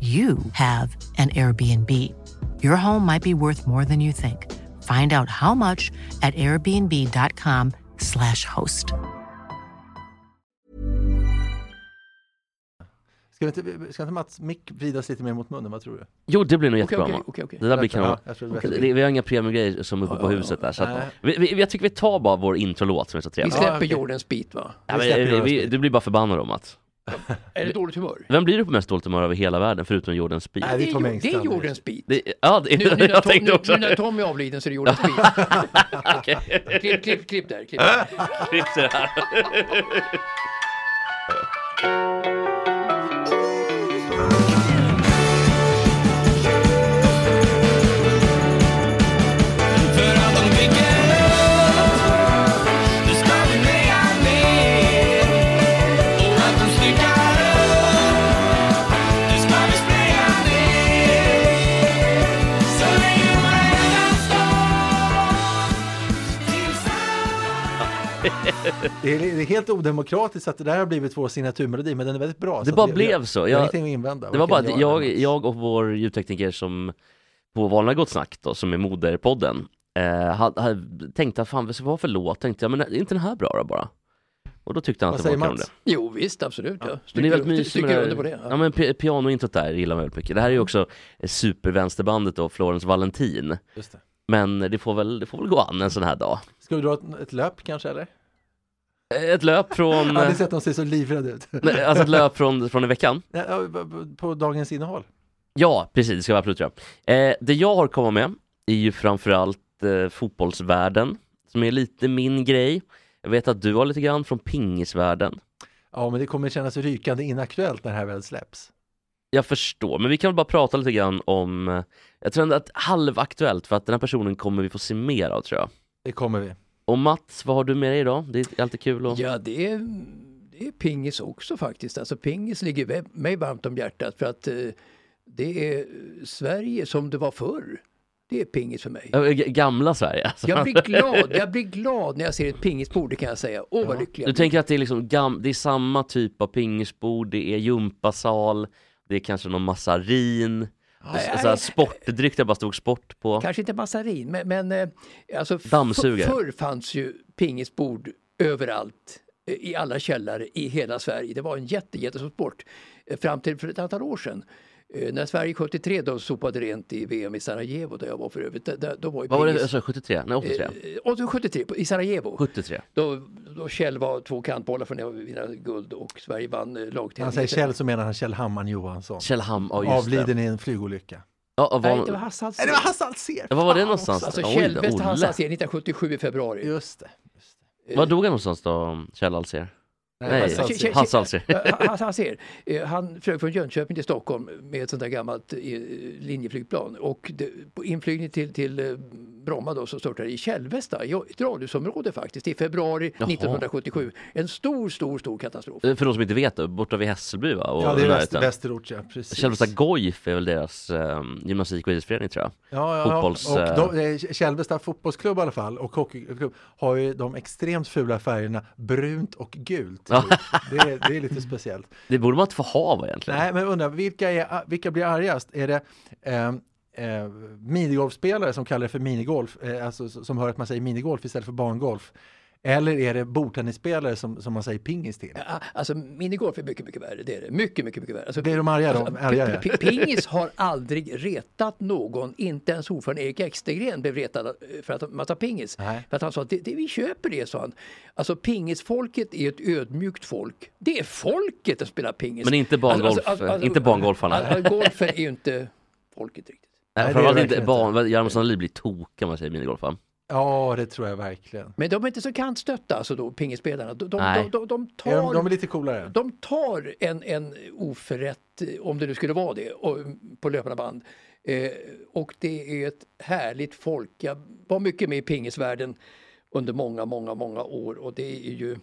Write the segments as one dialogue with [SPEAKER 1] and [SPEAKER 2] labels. [SPEAKER 1] you have an Airbnb. Your home might be worth more than you think. Find out how much at airbnb.com/slash host.
[SPEAKER 2] Ska inte, ska inte Mats mick vridas lite mer mot munnen, vad tror du?
[SPEAKER 3] Jo, det blir nog
[SPEAKER 2] Okej,
[SPEAKER 3] jättebra.
[SPEAKER 2] okej,
[SPEAKER 3] Mark.
[SPEAKER 2] okej, okej.
[SPEAKER 3] Det där blir
[SPEAKER 2] Ja,
[SPEAKER 3] kanon.
[SPEAKER 2] jag tror det blir
[SPEAKER 3] Okej,
[SPEAKER 2] jättebra.
[SPEAKER 3] det- vi har inga premiumgrejer som uppe
[SPEAKER 2] Ja,
[SPEAKER 3] på
[SPEAKER 2] ja,
[SPEAKER 3] huset där. Så
[SPEAKER 2] Nej.
[SPEAKER 3] att, vi, vi, jag tycker vi tar bara vår intro-låt som är så
[SPEAKER 4] Vi
[SPEAKER 3] trevlig.
[SPEAKER 2] Ja,
[SPEAKER 4] släpper
[SPEAKER 2] okej.
[SPEAKER 4] Jordens bit va?
[SPEAKER 3] Ja,
[SPEAKER 2] vi släpper
[SPEAKER 3] men, vi,
[SPEAKER 2] Jordens
[SPEAKER 3] vi,
[SPEAKER 2] bit.
[SPEAKER 3] du blir bara förbannad om att...
[SPEAKER 4] Är det dåligt humör?
[SPEAKER 3] Vem blir du på mest dåligt humör över hela världen förutom Jordens Speed?
[SPEAKER 2] Nej, det
[SPEAKER 4] det,
[SPEAKER 2] är
[SPEAKER 4] är,
[SPEAKER 2] Tom
[SPEAKER 4] Jord- det är
[SPEAKER 2] Engstrand.
[SPEAKER 4] Jordens bit.
[SPEAKER 3] Det, ja, det,
[SPEAKER 4] Nu, nu, när
[SPEAKER 3] jag
[SPEAKER 4] Tom,
[SPEAKER 3] tänkte
[SPEAKER 4] nu,
[SPEAKER 3] också...
[SPEAKER 4] nu när Tom är avliden så är det Jordens bit.
[SPEAKER 3] Okej,
[SPEAKER 4] Klipp, klipp, klipp där. Klipp. där.
[SPEAKER 3] klipp det här.
[SPEAKER 5] För att de dricker Nu ska vi leja mer Och att de styckar Nu ska vi spraya ner Så länge varenda stad Tillsammans
[SPEAKER 2] Det är, det är helt odemokratiskt att det där har blivit vår signaturmelodi, men den är väldigt bra. så
[SPEAKER 3] Det
[SPEAKER 2] att
[SPEAKER 3] bara
[SPEAKER 2] jag-
[SPEAKER 3] blev så.
[SPEAKER 2] Jag, jag har
[SPEAKER 3] Jag,
[SPEAKER 2] ingenting att invända.
[SPEAKER 3] det var bara
[SPEAKER 2] Varken
[SPEAKER 3] att
[SPEAKER 2] eller
[SPEAKER 3] jag,
[SPEAKER 2] Mats.
[SPEAKER 3] jag och vår ljudtekniker som på Vanliga Gott Snack då, som är moderpodden, eh, hade, hade, tänkte att fan vad ska det vara för låt? Tänkte jag, men är inte den här bra då bara? Och då tyckte han
[SPEAKER 2] Vad
[SPEAKER 3] att det var
[SPEAKER 2] säger
[SPEAKER 3] kanon det.
[SPEAKER 2] Mats?
[SPEAKER 4] Jo visst, absolut. Ja.
[SPEAKER 3] Men det är
[SPEAKER 4] Stryker,
[SPEAKER 3] väldigt
[SPEAKER 4] under,
[SPEAKER 3] mysigt med
[SPEAKER 4] stryker
[SPEAKER 3] det
[SPEAKER 4] under på
[SPEAKER 3] där.
[SPEAKER 4] det. Mm.
[SPEAKER 3] Ja,
[SPEAKER 4] Ja.
[SPEAKER 3] men pi- pianointrot där gillar man väldigt mycket. Det här är ju också eh, supervänsterbandet då, Florens Valentin.
[SPEAKER 2] Just det.
[SPEAKER 3] Men det får väl, det får väl gå an en sån här dag. Eh,
[SPEAKER 2] Ska du dra ett, ett löp kanske eller?
[SPEAKER 3] Ett löp från,
[SPEAKER 2] Har ni sett att de ser så livrädda ut?
[SPEAKER 3] nej, alltså ett löp från, från i veckan.
[SPEAKER 2] Nej, ja, b- b- På dagens innehåll?
[SPEAKER 3] Ja, precis, det ska vara absolut tror jag. Eh, det jag har att komma med är ju framförallt eh, fotbollsvärlden, som är lite min grej. Jag vet att du har lite grann från pingisvärlden.
[SPEAKER 2] Ja, men det kommer kännas rykande inaktuellt när det här väl släpps.
[SPEAKER 3] Jag förstår, men vi kan väl bara prata lite grann om, eh, jag tror ändå att halvaktuellt, för att den här personen kommer vi få se mer av tror jag.
[SPEAKER 2] Det kommer vi.
[SPEAKER 3] Och Mats, vad har du med dig idag? Det är alltid kul att...
[SPEAKER 4] Ja, det är, det är pingis också faktiskt. Alltså pingis ligger vä- mig varmt om hjärtat för att eh, det är Sverige som det var förr. Det är pingis för mig.
[SPEAKER 3] Ö, g- Gamla Sverige alltså.
[SPEAKER 4] Jag blir glad, jag blir glad när jag ser ett pingisbord, det kan jag säga. Åh vad lycklig
[SPEAKER 3] Du
[SPEAKER 4] jag blir.
[SPEAKER 3] tänker att det är, liksom gam... det är samma typ av pingisbord, det är gympasal, det är kanske någon massarin,
[SPEAKER 4] Nej,
[SPEAKER 3] så här alltså, sportdryck där bara stod sport på.
[SPEAKER 4] Kanske inte massarin, men, men eh, alltså, f-
[SPEAKER 3] Dammsugare.
[SPEAKER 4] förr fanns ju pingisbord överallt, eh, i alla källare i hela Sverige. Det var en jätte, jättestor sport eh, fram till för ett antal år sedan. Eh, När Sverige 73 då sopade rent i VM i Sarajevo där jag var för övrigt, där- där- då var ju
[SPEAKER 3] Vad var det,
[SPEAKER 4] pingis-
[SPEAKER 3] alltså, 73? Nej 83?
[SPEAKER 4] Eh, och så 73 på- i Sarajevo.
[SPEAKER 3] 73.
[SPEAKER 4] Då, då Kjell var två kantbollar från att vinna guld och Sverige vann eh,
[SPEAKER 2] När han
[SPEAKER 4] lagtävlingen.
[SPEAKER 2] säger Kjell så menar han Kjell Hammarn Johansson.
[SPEAKER 3] Kjell Ham, ja just det.
[SPEAKER 2] Avliden i en flygolycka.
[SPEAKER 3] Ja, och
[SPEAKER 4] Nej, det var
[SPEAKER 3] var,
[SPEAKER 4] Hasse Alfredson.
[SPEAKER 2] Nej, det var Hasse Alsér!
[SPEAKER 3] Ja, var var det
[SPEAKER 2] Fan
[SPEAKER 3] någonstans?
[SPEAKER 2] också.
[SPEAKER 4] Alltså
[SPEAKER 3] Oj,
[SPEAKER 4] Kjell West
[SPEAKER 3] Olle.
[SPEAKER 4] Hasse Alfred 1977 i februari. Eh,
[SPEAKER 2] Just det. Just det.
[SPEAKER 3] Var dog han någonstans då, Kjell Alsér? Nej,
[SPEAKER 2] Hasse Alsér.
[SPEAKER 3] Hasse Alsér.
[SPEAKER 4] Eh, Han, han, ser, eh, han flög från Jönköping till Stockholm med ett sånt där gammalt eh, linjeflygplan och det, på inflygning till, till eh, Bromma då så störtade det i Kälvesta, i ett radhusområde faktiskt, i februari
[SPEAKER 3] Jaha.
[SPEAKER 4] 1977. En stor, stor, stor katastrof.
[SPEAKER 3] Eh, För de som inte vet, då, borta vid Hässelby va? Och
[SPEAKER 2] Ja, det är väster,
[SPEAKER 3] närheten.
[SPEAKER 2] Västerort, ja. Precis.
[SPEAKER 3] Kälvesta Goif är väl deras eh, gymnastik och idrottsförening tror jag.
[SPEAKER 2] Ja, ja,
[SPEAKER 3] fotbolls-
[SPEAKER 2] ja. Och de, eh, Kälvesta fotbollsklubb i alla fall och hockeyklubb har ju de extremt fula färgerna brunt och gult. Det är, det är lite speciellt.
[SPEAKER 3] Det borde man inte få ha va egentligen?
[SPEAKER 2] Nej, men undrar, vilka, är, vilka blir argast? Är det eh, eh, minigolfspelare som kallar det för minigolf, eh, alltså s- som hör att man säger minigolf istället för barngolf? Eller är det bordtennisspelare som, som man säger pingis till?
[SPEAKER 4] Ah, Alltså minigolf är mycket, mycket värre. Det är det. Mycket, mycket, mycket värre. Alltså,
[SPEAKER 2] Blir de arga då?
[SPEAKER 4] Alltså,
[SPEAKER 2] Arga,
[SPEAKER 4] pi-
[SPEAKER 2] ja.
[SPEAKER 4] pi- Pingis har aldrig retat någon, inte ens ordföranden Erik Ekstergren blev retad eh, för att man tar pingis.
[SPEAKER 2] Nej.
[SPEAKER 4] För att han sa att det, det, vi köper det, sa han. Alltså pingisfolket är ett ödmjukt folk. Det är folket som spelar pingis.
[SPEAKER 3] Men inte barngolf, inte barngolfarna.
[SPEAKER 4] Alltså, golfen är ju inte folket riktigt.
[SPEAKER 2] Nej,
[SPEAKER 3] Nej,
[SPEAKER 2] det är
[SPEAKER 3] framförallt
[SPEAKER 2] det
[SPEAKER 3] inte
[SPEAKER 2] verkligen
[SPEAKER 3] barn, Hjalmar Sandlin blir tokig om man säger minigolf va?
[SPEAKER 2] Ja, det tror jag verkligen.
[SPEAKER 4] Men de är inte så kantstötta, alltså då, pingispelarna. De, de,
[SPEAKER 3] Nej.
[SPEAKER 4] de, de, de
[SPEAKER 2] Är De,
[SPEAKER 4] tar,
[SPEAKER 2] de är lite coolare.
[SPEAKER 4] de tar en, en oförrätt, eh, om det nu skulle vara det, och, på löpande band. Eh, och det är ett härligt folk. Jag var mycket med i pingisvärlden under många, många, många år och det är ju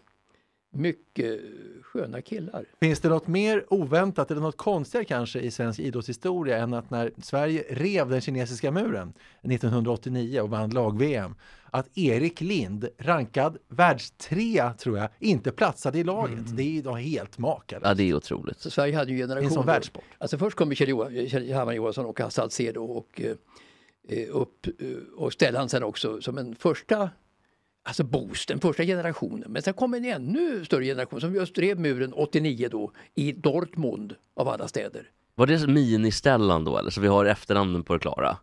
[SPEAKER 4] mycket sköna killar.
[SPEAKER 2] Finns det något mer oväntat eller något konstigare kanske i svensk idrottshistoria än att när Sverige rev den kinesiska muren 1989 och vann lag-VM, att Erik Lind, rankad världstrea tror jag, inte platsade i laget. Det är ju då helt
[SPEAKER 3] Ja,
[SPEAKER 2] makalöst.
[SPEAKER 3] det är otroligt.
[SPEAKER 4] Så Sverige hade ju
[SPEAKER 2] Det är som
[SPEAKER 4] generationer.
[SPEAKER 2] världssport.
[SPEAKER 4] Alltså först kommer Kjell, Johan, Kjell Hammar Johansson och Hasse Alcedo och eh, eh, upp eh, och Stellan sen också som en första Alltså Boos, den första generationen. Men sen kom en ännu större generation som just rev muren 89 då i Dortmund av alla städer.
[SPEAKER 3] Var det mini-Stellan då eller? Så vi har efternamnen på det klara.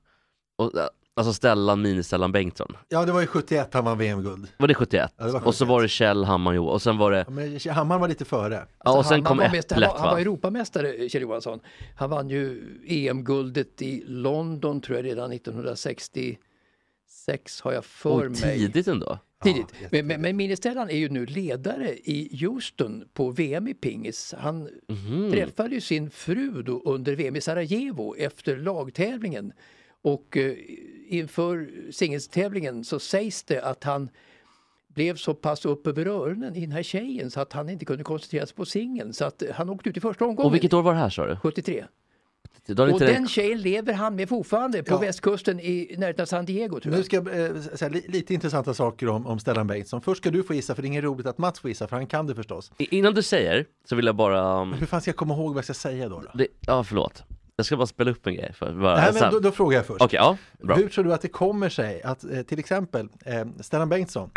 [SPEAKER 3] Och, eh, alltså Stellan, mini-Stellan Bengtsson.
[SPEAKER 2] Ja, det var ju 71 han vann VM-guld.
[SPEAKER 3] Var det 71?
[SPEAKER 2] Ja, det var
[SPEAKER 3] Och så
[SPEAKER 2] 71.
[SPEAKER 3] var det Kjell Hammar Jo- och sen var det...
[SPEAKER 2] Ja, men Hammar var lite före.
[SPEAKER 3] Ja, och
[SPEAKER 4] Alltså,
[SPEAKER 3] sen
[SPEAKER 4] han,
[SPEAKER 3] kom
[SPEAKER 4] han, var mest, han,
[SPEAKER 3] Äpplet
[SPEAKER 4] var, han var
[SPEAKER 3] va?
[SPEAKER 4] Europamästare, eh, Kjell Johansson. Han vann ju EM-guldet i London tror jag redan 1966 har jag för
[SPEAKER 3] Oj,
[SPEAKER 4] mig.
[SPEAKER 3] tidigt ändå.
[SPEAKER 4] Tidigt.
[SPEAKER 2] Ja,
[SPEAKER 4] men men, men Minnestellan är ju nu ledare i Houston på VM i pingis. Han
[SPEAKER 3] Mhm.
[SPEAKER 4] träffade ju sin fru då under VM i Sarajevo efter lagtävlingen. Och eh, inför singelstävlingen så sägs det att han blev så pass upp över öronen i den här tjejen så att han inte kunde koncentrera sig på singeln. Så att eh, han åkte ut i första omgången.
[SPEAKER 3] Och vilket år var det här sa du?
[SPEAKER 4] 73.
[SPEAKER 3] Då har
[SPEAKER 4] Och
[SPEAKER 3] inte det-
[SPEAKER 4] den tjejen lever han med fortfarande på
[SPEAKER 2] Ja.
[SPEAKER 4] västkusten i närheten av San Diego tror jag.
[SPEAKER 2] Nu ska jag eh, säga li- lite intressanta saker om, om Stellan Bengtsson. Först ska du få gissa, för det är inget roligt att Mats får gissa, för han kan det förstås.
[SPEAKER 3] I- Innan du säger så vill jag bara... um,
[SPEAKER 2] Hur fan ska jag komma ihåg vad jag ska säga då? då?
[SPEAKER 3] Det... Ja, förlåt. Jag ska bara spela upp en grej. För... Bara...
[SPEAKER 2] Nej, men
[SPEAKER 3] sen.
[SPEAKER 2] då, då frågar jag först.
[SPEAKER 3] Okej, ja. Bra.
[SPEAKER 2] Hur tror du att det kommer sig att eh, till exempel eh, Stellan Bengtsson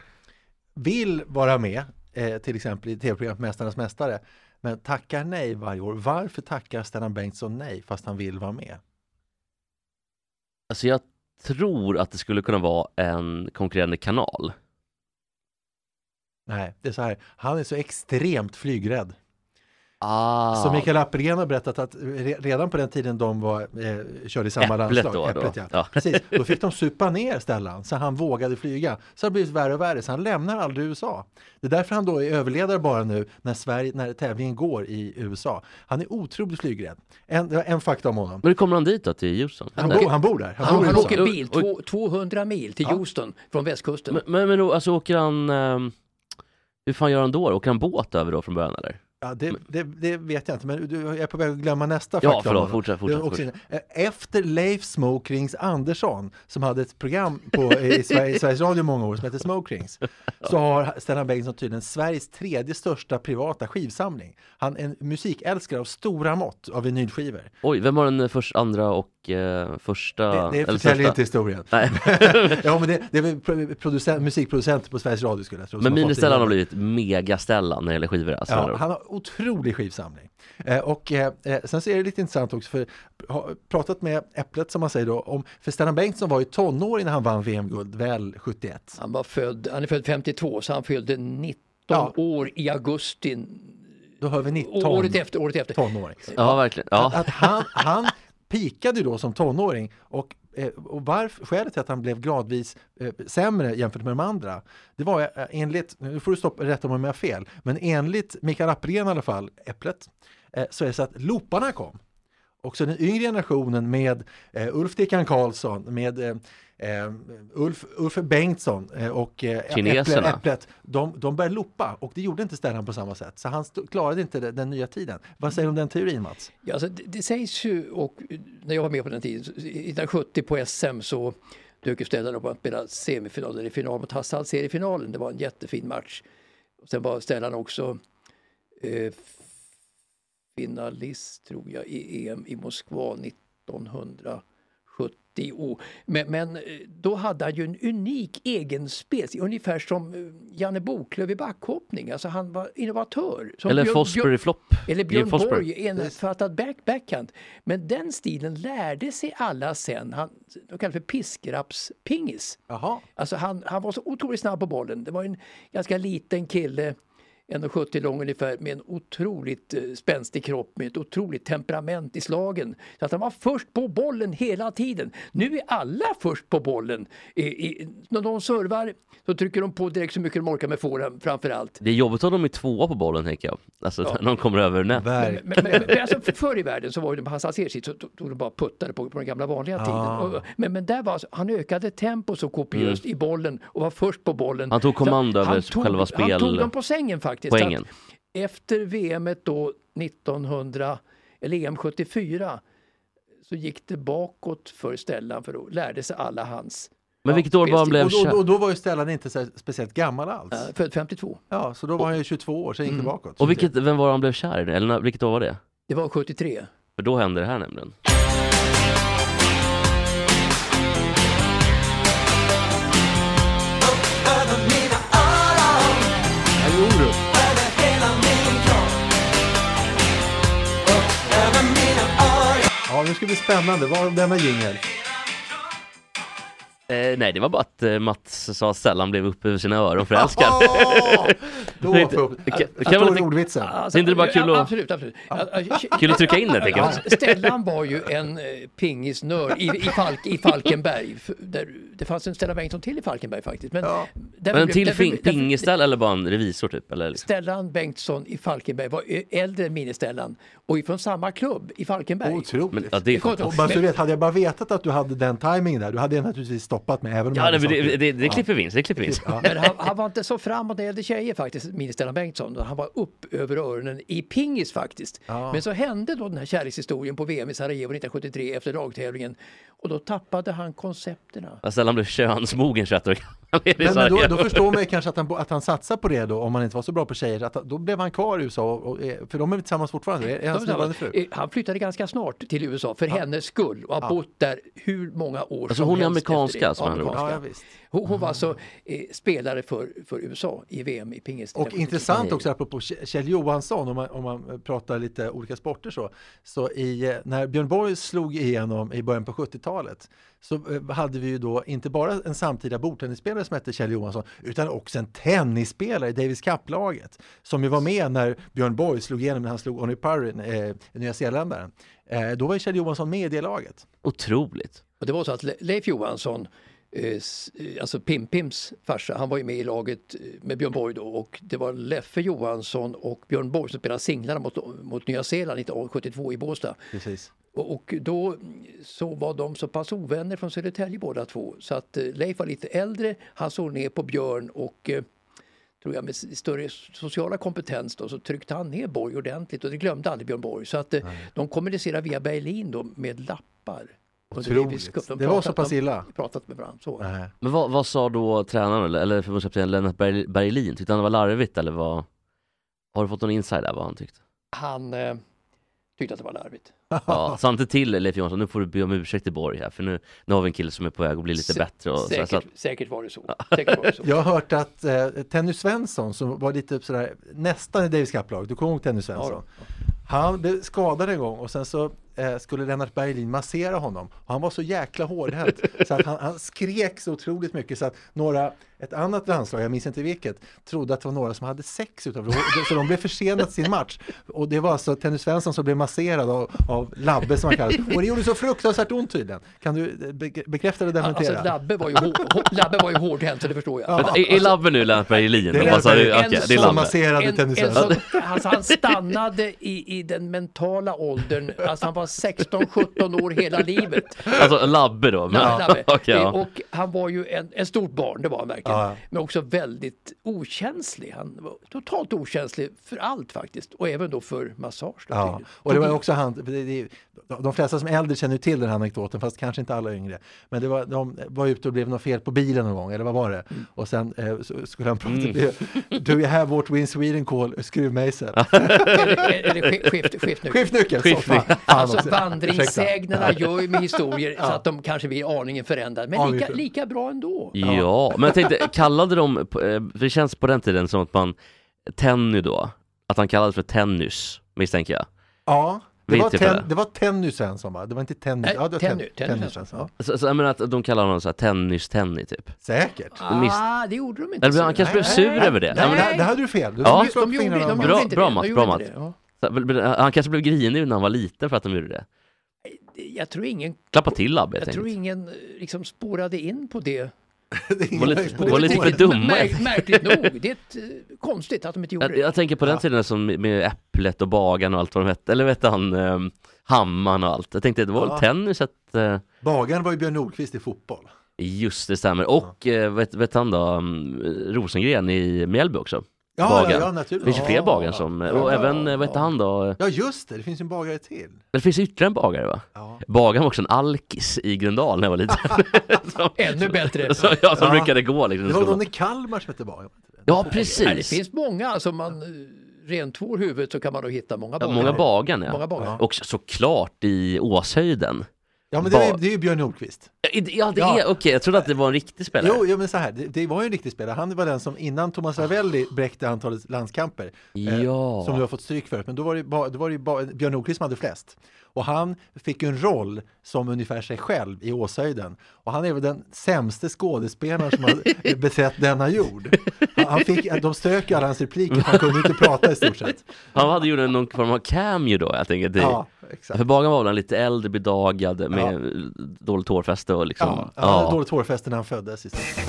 [SPEAKER 2] vill vara med, eh, till exempel i tv-programmet Mästarnas Mästare, men tackar nej varje år. Varför tackar Stellan Bengtsson nej fast han vill vara med?
[SPEAKER 3] Alltså jag tror att det skulle kunna vara en konkurrerande kanal.
[SPEAKER 2] Nej, det är så här, han är så extremt flygrädd.
[SPEAKER 3] Ah.
[SPEAKER 2] Som Mikael Appelgren har berättat att re- redan på den tiden de var, eh, körde i samma
[SPEAKER 3] Äpplet
[SPEAKER 2] landslag,
[SPEAKER 3] då, då.
[SPEAKER 2] Äpplet, ja.
[SPEAKER 3] Ja.
[SPEAKER 2] Precis. då fick de supa ner Stellan så han vågade flyga. Så har det blivit värre och värre så han lämnar aldrig USA. Det är därför han då är överledare bara nu när, Sverige, när tävlingen går i USA. Han är otroligt flygrädd. En, det var en fakta om honom.
[SPEAKER 3] Men hur kommer han dit då, till Houston?
[SPEAKER 2] Han,
[SPEAKER 3] Eller?
[SPEAKER 2] bo, han bor där. Han,
[SPEAKER 4] Han,
[SPEAKER 2] bor i
[SPEAKER 4] han
[SPEAKER 2] USA.
[SPEAKER 4] åker bil
[SPEAKER 3] Och-
[SPEAKER 4] två, 200 mil till Houston från västkusten.
[SPEAKER 3] Men, men, men då, alltså åker han... ehm, Hur fan gör han då? Åker han båt över då från början eller?
[SPEAKER 2] Ja, det, det, det vet jag inte, men du, jag är på väg att glömma nästa
[SPEAKER 3] Ja,
[SPEAKER 2] fakta om
[SPEAKER 3] förlåt,
[SPEAKER 2] honom.
[SPEAKER 3] fortsätt, fortsätt,
[SPEAKER 2] Det är också- Eh, Efter Leif Smokrings Andersson, som hade ett program på, i Sverige, Sveriges Radio i många år som hette Smokrings, så har Stellan Bengtsson tydligen Sveriges tredje största privata skivsamling. Han är en musikälskare av stora mått av vinylskivor.
[SPEAKER 3] Oj, vem har den först, andra och eh, första?
[SPEAKER 2] Det, det
[SPEAKER 3] eller
[SPEAKER 2] förtäljer
[SPEAKER 3] första?
[SPEAKER 2] inte historien.
[SPEAKER 3] Nej.
[SPEAKER 2] ja, men det, det är väl pro- producent, musikproducenter på Sveriges Radio skulle jag tro. som
[SPEAKER 3] Men
[SPEAKER 2] har fått det.
[SPEAKER 3] Mini-Stellan har blivit mega-Stellan när det gäller skivor alltså.
[SPEAKER 2] Ja, han har otrolig skivsamling. Eh, och eh, eh, sen så är det lite intressant också, för har pratat med Äpplet som man säger då, om, för Stellan Bengtsson var ju tonåring när han vann VM-guld, väl 71.
[SPEAKER 4] Han, var född, han är född 52 så han fyllde 19
[SPEAKER 2] Ja.
[SPEAKER 4] år i augusti.
[SPEAKER 2] Då hör vi 19
[SPEAKER 4] Året efter, året efter.
[SPEAKER 2] tonåring.
[SPEAKER 3] ja verkligen. Ja.
[SPEAKER 2] Att, att han, han pikade ju då som tonåring och, eh, och varf, skälet till att han blev gradvis eh, sämre jämfört med de andra, det var eh, enligt, nu får du stoppa, rätta mig om jag har fel, men enligt Mikael Appelgren i alla fall, Äpplet, eh, så är det så att looparna kom. Och så den yngre generationen med eh, Ulf Dickan Karlsson, med eh, eh, Ulf, Ulf Bengtsson eh, och eh,
[SPEAKER 3] Kineserna.
[SPEAKER 2] Äpple- Äpplet, de, de började loppa och det gjorde inte Stellan på samma sätt. Så han stod- klarade inte det- den nya tiden. Vad säger du om den teorin Mats?
[SPEAKER 4] Ja, alltså, det, det sägs ju, och när jag var med på den tiden, så- 1970 på SM så dök ju Stellan upp och spelade semifinal eller final mot Hasse Alcer i finalen. Det var en jättefin match. Och sen var Stellan också eh, finalist tror jag i EM i Moskva 1970. Men, men eh, då hade han ju en unik egen spets, ungefär som eh, Janne Boklöv i backhoppning. Alltså han var innovatör. Som
[SPEAKER 3] eller
[SPEAKER 4] Björn-
[SPEAKER 3] Fosbury Flopp.
[SPEAKER 4] eller
[SPEAKER 3] Jim
[SPEAKER 4] Björn
[SPEAKER 3] Fosbury.
[SPEAKER 4] Borg, enfattad back backhand. Men den stilen lärde sig alla sen. Han, de kallar det för piskrappspingis.
[SPEAKER 2] Jaha.
[SPEAKER 4] Alltså han, han var så otroligt snabb på bollen. Det var en ganska liten kille 1,70 lång ungefär med en otroligt eh, spänstig kropp med ett otroligt temperament i slagen. Så att han var först på bollen hela tiden. Nu är alla först på bollen. I, i, när de servar så trycker de på direkt så mycket de orkar med forehand framför allt.
[SPEAKER 3] Det är jobbigt om de är tvåa på bollen tänker jag. Alltså när de kommer över nät.
[SPEAKER 2] Verk.
[SPEAKER 4] Men, men, men alltså, för- förr i världen så var ju det på hans asersitt så tog tog de bara puttade på, på den gamla vanliga
[SPEAKER 3] Ah.
[SPEAKER 4] tiden. Och, men, men där var alltså, han ökade tempo så kopiöst i bollen och var först på bollen.
[SPEAKER 3] Mm. Han tog
[SPEAKER 4] Så
[SPEAKER 3] kommando
[SPEAKER 4] han
[SPEAKER 3] över
[SPEAKER 4] tog-
[SPEAKER 3] själva
[SPEAKER 4] Han tog
[SPEAKER 3] spel-
[SPEAKER 4] dem på sängen faktiskt.
[SPEAKER 3] poängen.
[SPEAKER 4] Så att Efter VM då 1900, eller EM 74 så gick det bakåt för Stellan för då lärde sig alla hans.
[SPEAKER 3] Men vilket år var han blev
[SPEAKER 2] Och, och,
[SPEAKER 3] kär?
[SPEAKER 2] och då var ju Stellan inte så här speciellt gammal alls.
[SPEAKER 4] Eh, Född 52.
[SPEAKER 2] Ja, så då var han ju 22 år, sen gick det bakåt.
[SPEAKER 3] Mm. Och vilket, vem var det han blev kär i? Eller när- vilket år var det?
[SPEAKER 4] Det var 73.
[SPEAKER 3] För då hände det här nämligen.
[SPEAKER 2] Ja, nu ska det bli spännande. Var om denna jingel?
[SPEAKER 3] Eh, nej, det var bara att eh, Mats sa att sällan blev upp över sina öron förälskad.
[SPEAKER 2] Då får
[SPEAKER 3] Det kan- det kan
[SPEAKER 2] jag förstår
[SPEAKER 3] vara lite-
[SPEAKER 2] ordvitsen.
[SPEAKER 4] Alltså,
[SPEAKER 3] Är inte det bara kul att-
[SPEAKER 4] Absolut, absolut. Ja.
[SPEAKER 3] Kul att trycka in det tänker jag.
[SPEAKER 4] Ja, Alltså, Stellan var ju en eh, pingisnörd i, i, Falk, i Falkenberg. F- Där, det fanns en Stellan Bengtsson till i Falkenberg faktiskt. Men, därför
[SPEAKER 3] Men en
[SPEAKER 4] blev-
[SPEAKER 3] till
[SPEAKER 4] därför-
[SPEAKER 3] fin-
[SPEAKER 4] därför-
[SPEAKER 3] pingeställ eller bara en revisor typ? Eller liksom.
[SPEAKER 4] Stellan Bengtsson i Falkenberg var eh, äldre än mini-Stellan och ifrån samma klubb i Falkenberg.
[SPEAKER 3] Men,
[SPEAKER 2] Otroligt.
[SPEAKER 3] ja, det är
[SPEAKER 4] Kom ihåg-
[SPEAKER 3] fantastiskt.
[SPEAKER 2] Bara så du vet, hade jag bara vetat att du hade den timingen där, du hade jag naturligtvis stoppat mig. Även om jag
[SPEAKER 3] Ja,
[SPEAKER 2] hade
[SPEAKER 3] det,
[SPEAKER 2] sagt
[SPEAKER 3] det, det, det klipper vi in. Det klipper vi in.
[SPEAKER 4] Men han, han var inte så framåt när det gällde tjejer faktiskt, minns Stellan Bengtsson. Han var upp över öronen i pingis faktiskt. Men så hände då den här kärlekshistorien på VM i Sarajevo 1973 efter lagtävlingen. Och då tappade han koncepterna.
[SPEAKER 3] Ja, Sällan blev könsmogen 21 år gammal. Det är
[SPEAKER 2] Men,
[SPEAKER 3] så
[SPEAKER 2] men
[SPEAKER 3] här-
[SPEAKER 2] då, då förstår man ju kanske att han, bo- att han satsar på det då, om han inte var så bra på tjejer. Att, då blev han kvar i USA, och, och, är- för de är väl tillsammans fortfarande? Är- Är hans nuvarande fru?
[SPEAKER 4] Eh, Han flyttade ganska snart till USA för hennes skull och har bott där hur många år
[SPEAKER 3] Alltså,
[SPEAKER 4] som
[SPEAKER 3] hon är
[SPEAKER 4] helst efter
[SPEAKER 3] amerikanska,
[SPEAKER 4] det.
[SPEAKER 3] alltså, med andra ord.
[SPEAKER 2] Ja, ja,
[SPEAKER 4] Amerikanska.
[SPEAKER 2] visst.
[SPEAKER 4] Hon, hon var alltså eh, spelare för, för USA i VM i pingis.
[SPEAKER 2] Och intressant också apropå K- Kjell Johansson, om man, om man pratar lite olika sporter så. Så i, eh, när Björn Borg slog igenom i början på 70-talet så eh, hade vi ju då inte bara en samtida bordtennisspelare som hette Kjell Johansson utan också en tennisspelare i Davis Cup-laget som ju var med när Björn Borg slog igenom när han slog Onny Parrin, eh, nya zeeländaren. Eh, då var ju Kjell Johansson med i det laget.
[SPEAKER 3] Otroligt.
[SPEAKER 4] Och det var så att Le- Leif Johansson, eh, s- eh, alltså Pim-Pims farsa, han var ju med i laget eh, med Björn Borg då och det var Leffe Johansson och Björn Borg som spelade singlarna mot, mot Nya Zeeland 1972 i Båstad.
[SPEAKER 2] Precis.
[SPEAKER 4] Och, och då mm, så var de så pass ovänner från Södertälje båda två så att eh, Leif var lite äldre, han såg ner på Björn och eh, tror jag med s- större s- sociala kompetens då, så tryckte han ner Borg ordentligt och det glömde aldrig Björn Borg. Så att eh, de kommunicerade via Berlin då med lappar. Under
[SPEAKER 2] Otroligt.
[SPEAKER 4] Davis Cup. De
[SPEAKER 2] Det var
[SPEAKER 4] pratade-
[SPEAKER 2] så pass
[SPEAKER 4] de-
[SPEAKER 2] illa?
[SPEAKER 4] pratat med varandra. Så.
[SPEAKER 2] Nej.
[SPEAKER 3] Men vad, vad sa då tränaren eller, eller förbundskapten Lennart Berg- Berlin? Tyckte han det var larvigt eller vad? Har du fått någon insight där vad han tyckte?
[SPEAKER 4] Han eh, tyckte att det var larvigt.
[SPEAKER 3] Ja, sa han inte till Leif Johansson, nu får du be om ursäkt till Borg här för nu, nu har vi en kille som är på väg att bli lite
[SPEAKER 4] Sä-
[SPEAKER 3] bättre. Och, så, här,
[SPEAKER 4] säkert,
[SPEAKER 3] så att,
[SPEAKER 4] säkert var det så. Säkert var det så.
[SPEAKER 2] Jag har hört att eh, Tenny Svensson som var lite sådär nästan i Davis Cup-lag, du kommer ihåg Tenny Svensson? Han blev skadad en gång och sen så eh, skulle Lennart Berglin massera honom och han var så jäkla hårdhänt så att han, han skrek så otroligt mycket så att några, ett annat landslag, jag minns inte vilket, trodde att det var några som hade sex utav det så de blev försenade sin match och det var alltså Tenny Svensson som blev masserad av, av Labbe som han kallades och det gjorde så fruktansvärt ont tydligen. Kan du eh, be- bekräfta eller
[SPEAKER 4] Alltså,
[SPEAKER 2] dementera?
[SPEAKER 4] Labbe var ju, hå- hå- Labbe var ju hårdhänt, så det förstår jag.
[SPEAKER 3] Vänta, är, är Labbe nu Lennart Berglin?
[SPEAKER 2] Det är
[SPEAKER 3] då? Vad sa du?
[SPEAKER 2] Lennart
[SPEAKER 3] Okej,
[SPEAKER 4] Berglin.
[SPEAKER 3] det är
[SPEAKER 2] som
[SPEAKER 3] Labbe.
[SPEAKER 2] masserade
[SPEAKER 4] En, en
[SPEAKER 2] Tenny Svensson.
[SPEAKER 4] som, alltså, han stannade i, i den mentala åldern, alltså han var 16-17 år hela livet.
[SPEAKER 3] Alltså Labbe då? Men,
[SPEAKER 4] Labbe.
[SPEAKER 3] okej, ja.
[SPEAKER 4] Och han var ju en, en stort barn, det var han verkligen.
[SPEAKER 2] Ja.
[SPEAKER 4] Men också väldigt okänslig. Han var totalt okänslig för allt faktiskt. Och även då för massage. Då,
[SPEAKER 2] Ja,
[SPEAKER 4] tydligen.
[SPEAKER 2] och det var ju också han, för det, det, de flesta som är äldre känner ju till den här anekdoten, fast kanske inte alla yngre. Men det var, de var ute och blev något fel på bilen någon gång, eller vad var det?
[SPEAKER 3] Mm.
[SPEAKER 2] Och sen eh, så skulle han prata, do you have what we in Sweden call a skruvmejsel?
[SPEAKER 4] Eller, eller skift, skift, skiftnyckel.
[SPEAKER 2] Skiftnyckel! så,
[SPEAKER 3] Skiftnyckel.
[SPEAKER 2] fan, fan
[SPEAKER 4] Alltså
[SPEAKER 2] också. Ursäkta.
[SPEAKER 4] vandringssägnerna gör ju med historier så att de kanske blir aningen förändrade. Men
[SPEAKER 2] Aningen
[SPEAKER 4] lika,
[SPEAKER 2] förändrade.
[SPEAKER 4] lika bra ändå.
[SPEAKER 3] Ja, men jag tänkte, kallade de, på- eh, för det känns på den tiden som att man, Tenny då, att han kallades för Tennys, misstänker jag.
[SPEAKER 2] Ja, Det var,
[SPEAKER 3] Vittjefälla.
[SPEAKER 2] ten, det var Tenny Svensson va? Det var inte Tenny?
[SPEAKER 4] Nej,
[SPEAKER 2] Ja, det var
[SPEAKER 4] Tenny, Tenny
[SPEAKER 2] Tenny
[SPEAKER 4] Svensson.
[SPEAKER 2] Svensson. Ja.
[SPEAKER 3] Så, så, jag menar att de kallar honom så här tennis-tenny typ.
[SPEAKER 2] Säkert.
[SPEAKER 4] Ah, det gjorde de inte.
[SPEAKER 3] Eller han kanske blev
[SPEAKER 2] Nej,
[SPEAKER 3] sur
[SPEAKER 2] nej,
[SPEAKER 3] över det.
[SPEAKER 2] Nej,
[SPEAKER 3] Ja,
[SPEAKER 2] men
[SPEAKER 3] men,
[SPEAKER 2] det, det hade du fel. Du,
[SPEAKER 3] Ja.
[SPEAKER 2] du slog
[SPEAKER 4] De
[SPEAKER 2] fingrarna
[SPEAKER 4] gjorde-
[SPEAKER 2] av
[SPEAKER 4] de
[SPEAKER 2] Mats.
[SPEAKER 4] gjorde
[SPEAKER 3] Bra-
[SPEAKER 4] inte
[SPEAKER 3] bra
[SPEAKER 4] det.
[SPEAKER 3] Mats,
[SPEAKER 4] de
[SPEAKER 3] bra
[SPEAKER 4] gjorde
[SPEAKER 3] Mats.
[SPEAKER 4] inte det.
[SPEAKER 3] så- men- men han kanske blev grinig när han var liten för att de gjorde det.
[SPEAKER 4] Jag tror ingen,
[SPEAKER 3] Klappa till Abbe helt
[SPEAKER 4] jag tror
[SPEAKER 3] enkelt.
[SPEAKER 4] ingen eh, liksom spårade in på det.
[SPEAKER 2] Det är
[SPEAKER 3] Var lite-
[SPEAKER 2] ingen-
[SPEAKER 3] var lite
[SPEAKER 4] Det är
[SPEAKER 3] för dumma.
[SPEAKER 4] märk- Märkligt nog. Det är ett, eh, konstigt att de inte gjorde
[SPEAKER 3] Jag,
[SPEAKER 4] det.
[SPEAKER 3] jag tänker på den tiden som med Äpplet och Bagan och allt vad de hette. Eller vet han, ehm, Hammaren och allt. Jag tänkte det var väl
[SPEAKER 2] Ja.
[SPEAKER 3] tennis att... eh,
[SPEAKER 2] Bagaren var ju Björn Nordqvist i fotboll.
[SPEAKER 3] Just det, stämmer. Och eh, vet, vet han då, mm, Rosengren i Mjällby också.
[SPEAKER 2] Ja,
[SPEAKER 3] Bagaren.
[SPEAKER 2] ja, ja naturligtvis.
[SPEAKER 3] Det finns ju fler
[SPEAKER 2] Ja.
[SPEAKER 3] bagare som, och
[SPEAKER 2] Ja.
[SPEAKER 3] även, eh, vad hette han då?
[SPEAKER 2] Ja, just det. Det finns ju en bagare till.
[SPEAKER 3] Det finns ytterligare en bagare va?
[SPEAKER 2] Ja.
[SPEAKER 3] Bagaren var också en alkis i Gröndal när jag var liten. som,
[SPEAKER 4] Ännu bättre.
[SPEAKER 3] som, ja, som
[SPEAKER 2] Ja.
[SPEAKER 3] brukade gå liksom. i
[SPEAKER 2] Det var
[SPEAKER 3] skolan.
[SPEAKER 2] någon i Kalmar som hette Bagaren.
[SPEAKER 3] Ja,
[SPEAKER 4] Nej, det
[SPEAKER 3] precis.
[SPEAKER 4] finns många. Alltså man eh, rentvår huvudet så kan man nog hitta många
[SPEAKER 3] Ja,
[SPEAKER 4] bagare.
[SPEAKER 3] många bagan ja.
[SPEAKER 4] Många bagare.
[SPEAKER 3] Och så- såklart i Åshöjden.
[SPEAKER 2] Ja, men det, är-
[SPEAKER 3] Ba-
[SPEAKER 2] det är ju Björn Nordqvist.
[SPEAKER 3] Ja, i- Ja, det
[SPEAKER 2] Ja.
[SPEAKER 3] är, okej, jag trodde att det var en riktig spelare.
[SPEAKER 2] Jo, jo, men så här, det, det var ju en riktig spelare. Han var den som innan Thomas Ravelli bräckte antalet landskamper. eh,
[SPEAKER 3] Ja.
[SPEAKER 2] Som du har fått stryk för. Men då var det, ba, då var det ju ba, Björn Nordqvist som hade flest. Och han fick ju en roll som ungefär sig själv i Åshöjden. Och han är väl den sämste skådespelaren som har besett denna jord. Han, han fick, de strök ju alla hans repliker, han kunde inte prata i stort sett.
[SPEAKER 3] Han hade gjort en- någon form av cameo då, jag tänker. Det,
[SPEAKER 2] Ja,
[SPEAKER 3] För
[SPEAKER 2] exakt.
[SPEAKER 3] Bagan var väl en lite äldre, bedagad, med dåligt hårfäste och liksom...
[SPEAKER 2] Ja, han hade
[SPEAKER 3] ja.
[SPEAKER 2] dåligt hårfäste när han föddes. i stort sett.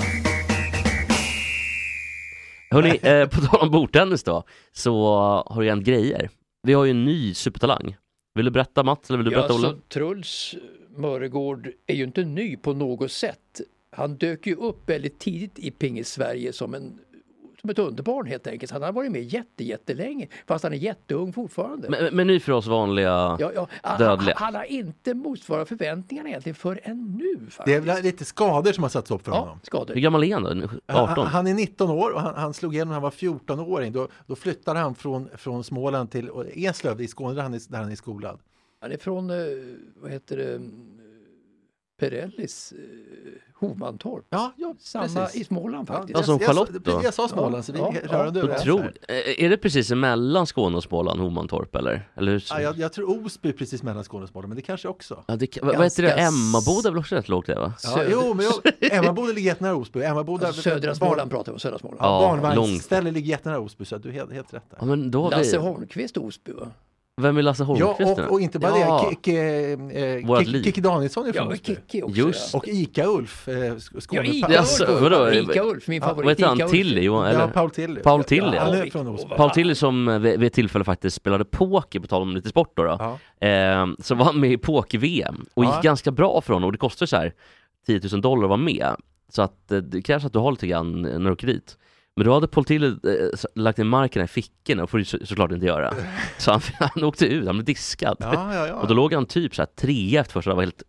[SPEAKER 3] Hörrni, eh, på tal om bordtennis då, så har det hänt grejer. Vi har ju en ny supertalang. Vill du berätta Mats, eller vill du
[SPEAKER 4] Ja,
[SPEAKER 3] berätta Olle?
[SPEAKER 4] så Truls Mörgård är ju inte ny på något sätt. Han dök ju upp väldigt tidigt i pingis-Sverige som, en, som ett underbarn helt enkelt. Han har varit med jätte, jättelänge, fast han är jätteung fortfarande.
[SPEAKER 3] Men, men ny för oss vanliga...
[SPEAKER 4] ja, ja, han, han,
[SPEAKER 3] dödliga.
[SPEAKER 4] han har inte motsvarat förväntningarna egentligen förrän nu
[SPEAKER 2] Det
[SPEAKER 4] faktiskt.
[SPEAKER 2] är väl lite skador som har satts upp för
[SPEAKER 4] Ja,
[SPEAKER 2] honom.
[SPEAKER 4] skador.
[SPEAKER 3] Hur gammal är han då? 18?
[SPEAKER 2] Han, han är 19 år och han, han slog igenom när han var 14-åring. Då, då flyttade han från, från Småland till Eslöv i Skåne där han är, där han är skolad.
[SPEAKER 4] Han är från, eh, vad heter det, eh, Perellis eh, Hovmantorp.
[SPEAKER 2] Ja, ja
[SPEAKER 4] Samma
[SPEAKER 2] precis.
[SPEAKER 4] i Småland
[SPEAKER 2] Ja, Alltså,
[SPEAKER 4] faktiskt.
[SPEAKER 3] Ja, som
[SPEAKER 2] jag-
[SPEAKER 3] Charlotte
[SPEAKER 2] jag,
[SPEAKER 3] då?
[SPEAKER 2] precis, Jag sa Småland, så vi
[SPEAKER 4] Ja,
[SPEAKER 2] är
[SPEAKER 4] ja,
[SPEAKER 2] rörande överens här.
[SPEAKER 3] Otroligt. Eh, Är det precis mellan Skåne och Småland, Homantorp eller? eller hur?
[SPEAKER 2] Ja, jag, jag tror Osby är precis mellan Skåne och Småland, men det kanske också.
[SPEAKER 3] Ja, det, kan- vad vad heter det?
[SPEAKER 4] Ganska s-
[SPEAKER 3] Emmaboda är väl också rätt lågt det va?
[SPEAKER 2] Ja,
[SPEAKER 4] Söder-
[SPEAKER 2] jo, men jag, Emmaboda ligger jättenära Osby. Emmaboda,
[SPEAKER 4] Alltså, södra Småland pratar vi om, södra Småland.
[SPEAKER 3] Ja,
[SPEAKER 2] Ja,
[SPEAKER 3] långt.
[SPEAKER 2] Barnvagnsställe ligger jättenära Osby, så du är helt, helt rätt
[SPEAKER 3] Ja,
[SPEAKER 2] där.
[SPEAKER 3] men då har
[SPEAKER 4] Lasse
[SPEAKER 3] vi...
[SPEAKER 4] Holmqvist Osby va?
[SPEAKER 3] Vem är Lasse
[SPEAKER 2] Ja,
[SPEAKER 3] Holmqvist nu?
[SPEAKER 2] och, och inte bara
[SPEAKER 3] Ja.
[SPEAKER 2] det, Kicki eh,
[SPEAKER 3] Vårat
[SPEAKER 2] Kik-
[SPEAKER 3] liv.
[SPEAKER 2] Kikki Danielsson är
[SPEAKER 4] Ja,
[SPEAKER 2] från
[SPEAKER 4] och
[SPEAKER 2] Osby.
[SPEAKER 4] Kikki också.
[SPEAKER 3] Just
[SPEAKER 4] ja.
[SPEAKER 2] Och Ica-Ulf, eh, sk-
[SPEAKER 4] Ja,
[SPEAKER 2] Skåne...
[SPEAKER 4] Ica-Ulf.
[SPEAKER 3] Jaså, vadå?
[SPEAKER 4] Ica-Ulf, min
[SPEAKER 3] Vad
[SPEAKER 4] favorit.
[SPEAKER 3] heter han?
[SPEAKER 4] Ica-Ulf.
[SPEAKER 3] Tilly? Johan, eller?
[SPEAKER 2] Ja, Paul Tilly.
[SPEAKER 3] Paul Tilly,
[SPEAKER 2] ja.
[SPEAKER 3] ja.
[SPEAKER 2] Han är från Osby.
[SPEAKER 3] Paul Tilly som eh, vid vid ett tillfälle faktiskt spelade poker, på tal om lite sport då, då eh, så var han med i poker-VM och gick
[SPEAKER 2] Ja.
[SPEAKER 3] ganska bra för honom och det kostar så här 10 000 dollar att vara med. Så att eh, det krävs att du har lite grann eh, när du åker dit. Men då hade Paul Tilly eh, s- lagt in markerna i fickorna och får du så, såklart inte göra. Så han, han åkte ut, han blev diskad.
[SPEAKER 2] Ja, ja, ja.
[SPEAKER 3] Och då låg han typ så här trea efter första, det var helt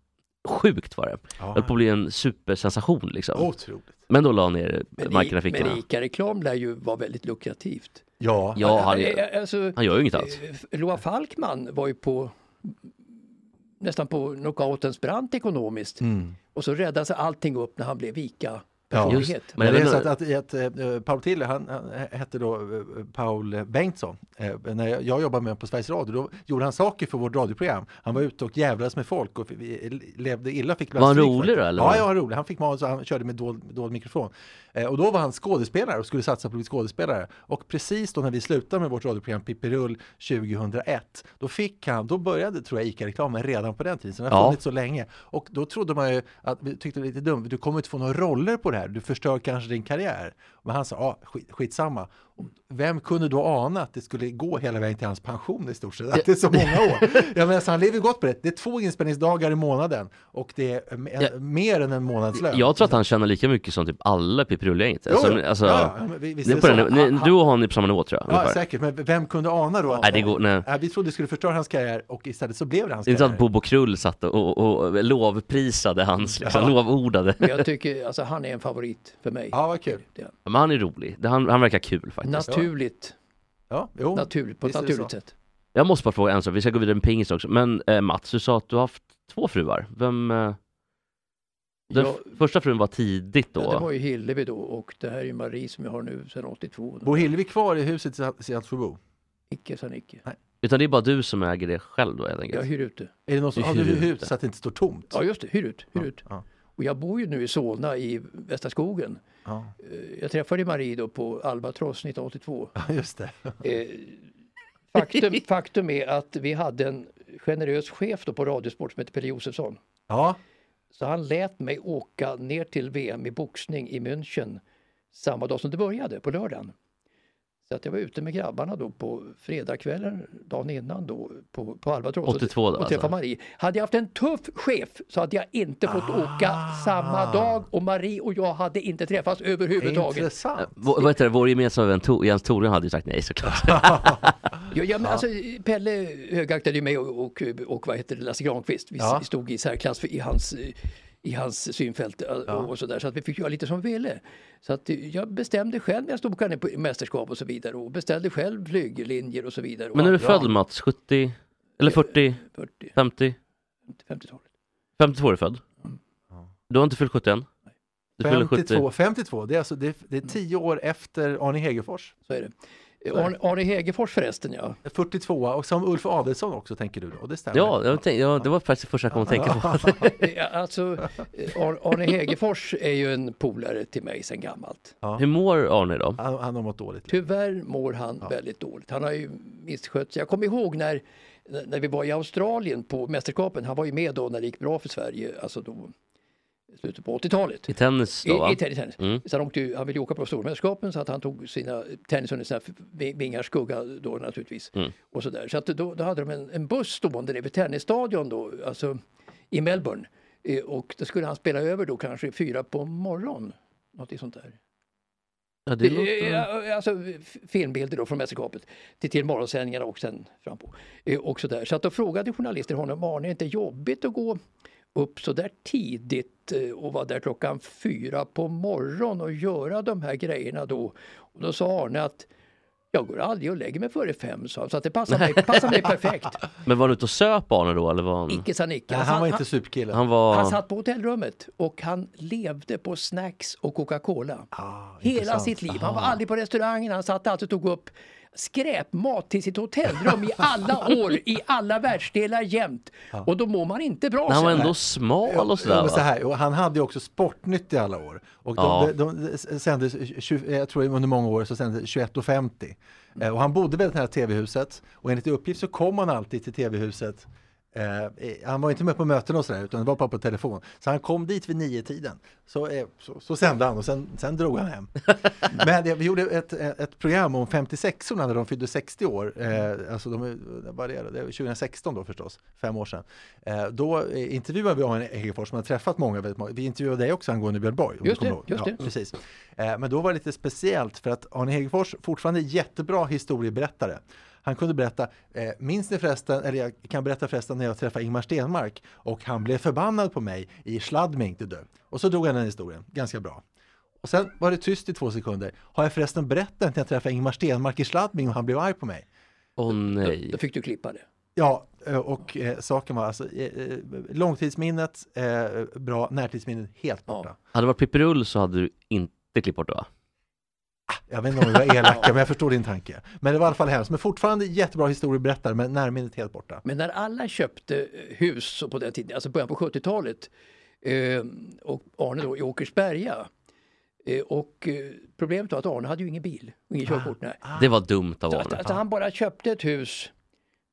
[SPEAKER 3] sjukt var det.
[SPEAKER 2] Ja.
[SPEAKER 3] höll på att bli en supersensation liksom.
[SPEAKER 2] Otroligt.
[SPEAKER 3] Men då la han ner
[SPEAKER 4] Men,
[SPEAKER 3] markerna i
[SPEAKER 4] i-
[SPEAKER 3] fickorna.
[SPEAKER 4] men Ica-reklam lär ju vara väldigt lukrativt.
[SPEAKER 2] Ja.
[SPEAKER 3] Ja, han,
[SPEAKER 4] Eh, alltså,
[SPEAKER 3] han gör ju inget alls.
[SPEAKER 4] eh, Loa Falkman var ju på nästan på knockoutens brant ekonomiskt.
[SPEAKER 2] Mm.
[SPEAKER 4] Och så räddade sig allting upp när han blev Ica.
[SPEAKER 2] Ja.
[SPEAKER 3] Just,
[SPEAKER 4] personlighet.
[SPEAKER 3] men
[SPEAKER 2] Men det är
[SPEAKER 3] även-
[SPEAKER 2] så att, att, att eh, Paul Tilly, han, han hette då eh, Paul Bengtsson. Eh, när jag, jag jobbade med honom på Sveriges Radio, då gjorde han saker för vårt radioprogram. Han var ute och jävlades med folk och vi- levde illa. Fick bland
[SPEAKER 3] Var han
[SPEAKER 2] stryk för
[SPEAKER 3] rolig
[SPEAKER 2] det.
[SPEAKER 3] då, eller?
[SPEAKER 2] Ja, ja, han var rolig. Han fick manus och han körde med dold, dold mikrofon. Eh, och då var han skådespelare och skulle satsa på att bli skådespelare. Och precis då när vi slutade med vårt radioprogram Pippirull 2001, då fick han, då började tror jag ICA-reklamen redan på den tiden. Så den har
[SPEAKER 3] Ja.
[SPEAKER 2] funnits så länge. Och då trodde man ju att, vi tyckte det var lite dumt, du kommer inte få några roller på det här, du förstör kanske din karriär. Men han sa, ja, skit, skitsamma. Och Vem kunde då ana att det skulle gå hela vägen till hans pension i stort sett? Att det är så många år. Jag menar, så han lever ju gott på det. Det är två inspelningsdagar i månaden och det är en,
[SPEAKER 3] Ja.
[SPEAKER 2] mer än en månadslön.
[SPEAKER 3] Jag tror att han tjänar lika mycket som typ alla Pippirulle-gänget.
[SPEAKER 2] Jo,
[SPEAKER 3] Alltså,
[SPEAKER 2] jo.
[SPEAKER 3] alltså,
[SPEAKER 2] Ja, ja, men vi- visst
[SPEAKER 3] det är
[SPEAKER 2] är
[SPEAKER 3] på
[SPEAKER 2] det
[SPEAKER 3] den,
[SPEAKER 2] så.
[SPEAKER 3] ni-
[SPEAKER 2] Han- han-
[SPEAKER 3] du och han är på samma nivå tror jag.
[SPEAKER 2] Ja,
[SPEAKER 3] ungefär.
[SPEAKER 2] säkert. Men vem kunde ana då? Att
[SPEAKER 3] Nej, det går- nej.
[SPEAKER 2] Ja, vi trodde det skulle förstöra hans karriär och istället så blev det hans
[SPEAKER 3] det är inte så
[SPEAKER 2] karriär.
[SPEAKER 3] att Bobo Krull satt och, och, och lovprisade hans, liksom, lovordade.
[SPEAKER 4] Men jag tycker, alltså han är en favorit för mig.
[SPEAKER 2] Ja, vad kul.
[SPEAKER 4] Det-
[SPEAKER 3] Men han är rolig, Det- han, han verkar kul faktiskt.
[SPEAKER 4] Naturligt,
[SPEAKER 2] Ja, jo.
[SPEAKER 4] naturligt, på ett
[SPEAKER 2] Visst är det
[SPEAKER 4] naturligt
[SPEAKER 2] så.
[SPEAKER 4] sätt.
[SPEAKER 3] Jag måste bara fråga en sak, vi ska gå vidare med pingis också. Men eh, Mats, du sa att du har haft två fruar. Vem, eh, den
[SPEAKER 4] Jag-
[SPEAKER 3] f- första frun var tidigt då?
[SPEAKER 4] Ja, det var ju Hillevi då och det här är ju Marie som jag har nu sedan 82.
[SPEAKER 2] Bor Hillevi kvar i huset i Salt- Saltsjöbo?
[SPEAKER 4] Icke, sen icke.
[SPEAKER 3] Utan det är bara du som äger det själv då helt
[SPEAKER 4] Jag
[SPEAKER 3] enkelt?
[SPEAKER 4] hyr ut det.
[SPEAKER 2] Är det någon som
[SPEAKER 3] I
[SPEAKER 2] har du
[SPEAKER 3] huvudet.
[SPEAKER 2] hus så att det inte står tomt?
[SPEAKER 4] Ja, just det. Hyr ut. Hyr ut.
[SPEAKER 2] ja.
[SPEAKER 4] Och jag bor ju nu i Solna i Västra skogen.
[SPEAKER 2] Ja,
[SPEAKER 4] Eh, Jag träffade Marie då på Albatross 1982.
[SPEAKER 2] just det.
[SPEAKER 4] Eh, faktum, faktum är att vi hade en generös chef då på Radiosport som hette Pelle Josefsson.
[SPEAKER 2] Ja,
[SPEAKER 4] Så han lät mig åka ner till VM i boxning i München samma dag som det började, på lördagen. Så att jag var ute med grabbarna då på fredagskvällen, dagen innan då, på, på Albatross.
[SPEAKER 3] 82 då,
[SPEAKER 4] Och träffade
[SPEAKER 3] alltså.
[SPEAKER 4] Marie. Hade jag haft en tuff chef så hade jag inte fått åka
[SPEAKER 3] Ah.
[SPEAKER 4] samma dag och Marie och jag hade inte träffats överhuvudtaget.
[SPEAKER 2] intressant.
[SPEAKER 3] Vå- vad heter det, vår gemensamma vän Tor- Jens Torun hade ju sagt nej såklart.
[SPEAKER 4] Jag, jag, men alltså, Pelle högaktade ju mig och, och, och vad heter det, Lasse Granqvist. Vi s-
[SPEAKER 2] Ja.
[SPEAKER 4] vi stod i särklass för- i hans, eh, i hans synfält eh, och sådär. Så att vi fick göra lite som vi ville. Så att eh, jag bestämde själv när jag stod på kanne på mästerskap och så vidare och beställde själv flyglinjer och så vidare. Och
[SPEAKER 3] Men när du
[SPEAKER 4] allt-
[SPEAKER 3] född Mats, 70, eller 40,
[SPEAKER 4] 40,
[SPEAKER 3] 50,
[SPEAKER 4] 50-talet.
[SPEAKER 3] 52 är du född? Du har inte fyllt 70 än? Du fyller 70.
[SPEAKER 2] 52, 52, det är alltså det är, det är tio år efter Arne Hegerfors.
[SPEAKER 4] Så är det. Eh, Arne, Arne Hegerfors förresten ja.
[SPEAKER 2] 42 och som Ulf Adelsohn också tänker du då, och det stämmer.
[SPEAKER 3] Ja, jag tänkte, ja, det var faktiskt det första jag kom att tänka på.
[SPEAKER 4] Eh, Alltså eh, Ar- Arne Hegerfors är ju en polare till mig sedan gammalt.
[SPEAKER 3] Hur mår Arne då?
[SPEAKER 2] Han, han har mått dåligt.
[SPEAKER 4] Tyvärr mår han väldigt dåligt. Han har ju misskött sig. Jag kommer ihåg när, när vi var i Australien på mästerskapen. Han var ju med då när det gick bra för Sverige, alltså då i slutet på 80-talet.
[SPEAKER 3] I tennis
[SPEAKER 4] I,
[SPEAKER 3] då va?
[SPEAKER 4] i tennis. tennis.
[SPEAKER 3] Mm.
[SPEAKER 4] Så han, åkte, ju- han ville ju åka på stormästerskapen så att han tog sina tennis under sina f- vingars skugga då naturligtvis.
[SPEAKER 3] Mm.
[SPEAKER 4] Och så där. så att då, då hade de en, en buss stående nere vid tennisstadion då, alltså i Melbourne. Eh, Och då skulle han spela över då kanske fyra på morgonen. Något sånt där.
[SPEAKER 3] Ja, det låter...
[SPEAKER 4] Eh, Alltså, f- filmbilder då från mästerskapet till, till morgonsändningarna och sen fram på. Eh, Och så, där. så att då frågade journalister honom, Arne, är det inte jobbigt att gå upp så där tidigt eh, och vara där klockan fyra på morgonen och göra de här grejerna då? Och då sa Arne att jag går aldrig och lägger mig före fem, sa han, så att det passar mig, passar mig perfekt.
[SPEAKER 3] Men var du ute och söp Arne då eller var han...
[SPEAKER 4] Icke sa Nicke.
[SPEAKER 2] Nej,
[SPEAKER 4] Han,
[SPEAKER 2] han var
[SPEAKER 4] han,
[SPEAKER 2] inte superkille.
[SPEAKER 3] Han var...
[SPEAKER 4] han satt på hotellrummet och han levde på snacks och Coca-Cola.
[SPEAKER 2] Ah,
[SPEAKER 4] Hela
[SPEAKER 2] intressant.
[SPEAKER 4] sitt liv. Han var aldrig på restaurangen, han satt alltid och tog upp skräpmat till sitt hotellrum i alla år, i alla världsdelar jämt. Och då mår man inte bra
[SPEAKER 3] Men han var
[SPEAKER 4] sen.
[SPEAKER 3] ändå smal och
[SPEAKER 2] Ja,
[SPEAKER 3] sådär
[SPEAKER 2] men så
[SPEAKER 3] va?
[SPEAKER 2] här, och han hade ju också Sportnytt i alla år. Och de,
[SPEAKER 3] Ja.
[SPEAKER 2] de, de sändes, tju- jag tror under många år så sändes 21.50. Eh, Och han bodde väldigt nära TV-huset och enligt uppgift så kom han alltid till TV-huset. Eh, eh, han var inte med på möten och sådär utan det var bara på telefon. Så han kom dit vid nio tiden. Så, eh, så, så sände han och sen, sen drog han hem. Men det, vi gjorde ett, eh, ett program om 56orna när de fyllde 60 år. Eh, alltså de, är- vad är det, då? det är 2016 då förstås, fem år sedan. Eh, då eh, intervjuade vi Arne Hegerfors som har träffat många, väldigt många. Vi intervjuade dig också angående Björn Borg. om du
[SPEAKER 4] Just det,
[SPEAKER 2] kommer ihåg.
[SPEAKER 4] just
[SPEAKER 2] ja,
[SPEAKER 4] det.
[SPEAKER 2] Precis. Eh, men då var det lite speciellt för att Arne Hegerfors fortfarande är jättebra historieberättare. Han kunde berätta, eh, minns ni förresten, eller jag kan berätta förresten när jag träffade Ingmar Stenmark och han blev förbannad på mig i Sladdming, du dö. Och så drog han den historien, ganska bra. Och sen var det tyst i två sekunder. Har jag förresten berättat att jag träffade Ingmar Stenmark i Sladdming och han blev arg på mig?
[SPEAKER 3] Åh nej.
[SPEAKER 4] Då fick du klippa det.
[SPEAKER 2] Ja, eh, och eh, saken var alltså eh, eh, långtidsminnet eh, bra, närtidsminnet helt borta.
[SPEAKER 3] Hade det varit Pippirull så hade du inte klippt bort det va?
[SPEAKER 2] Jag vet inte om vi var elaka, men jag förstår din tanke. Men det var i alla fall hemskt. Men fortfarande jättebra historieberättare, men närminnet helt borta.
[SPEAKER 4] Men när alla köpte eh, hus så på den tiden, alltså början på 70-talet eh, och Arne då i Åkersberga. Eh, och eh, problemet var att Arne hade ju ingen bil och ingen körkort. nej.
[SPEAKER 3] Det var dumt av
[SPEAKER 4] Att,
[SPEAKER 3] Arne.
[SPEAKER 4] att han bara köpte ett hus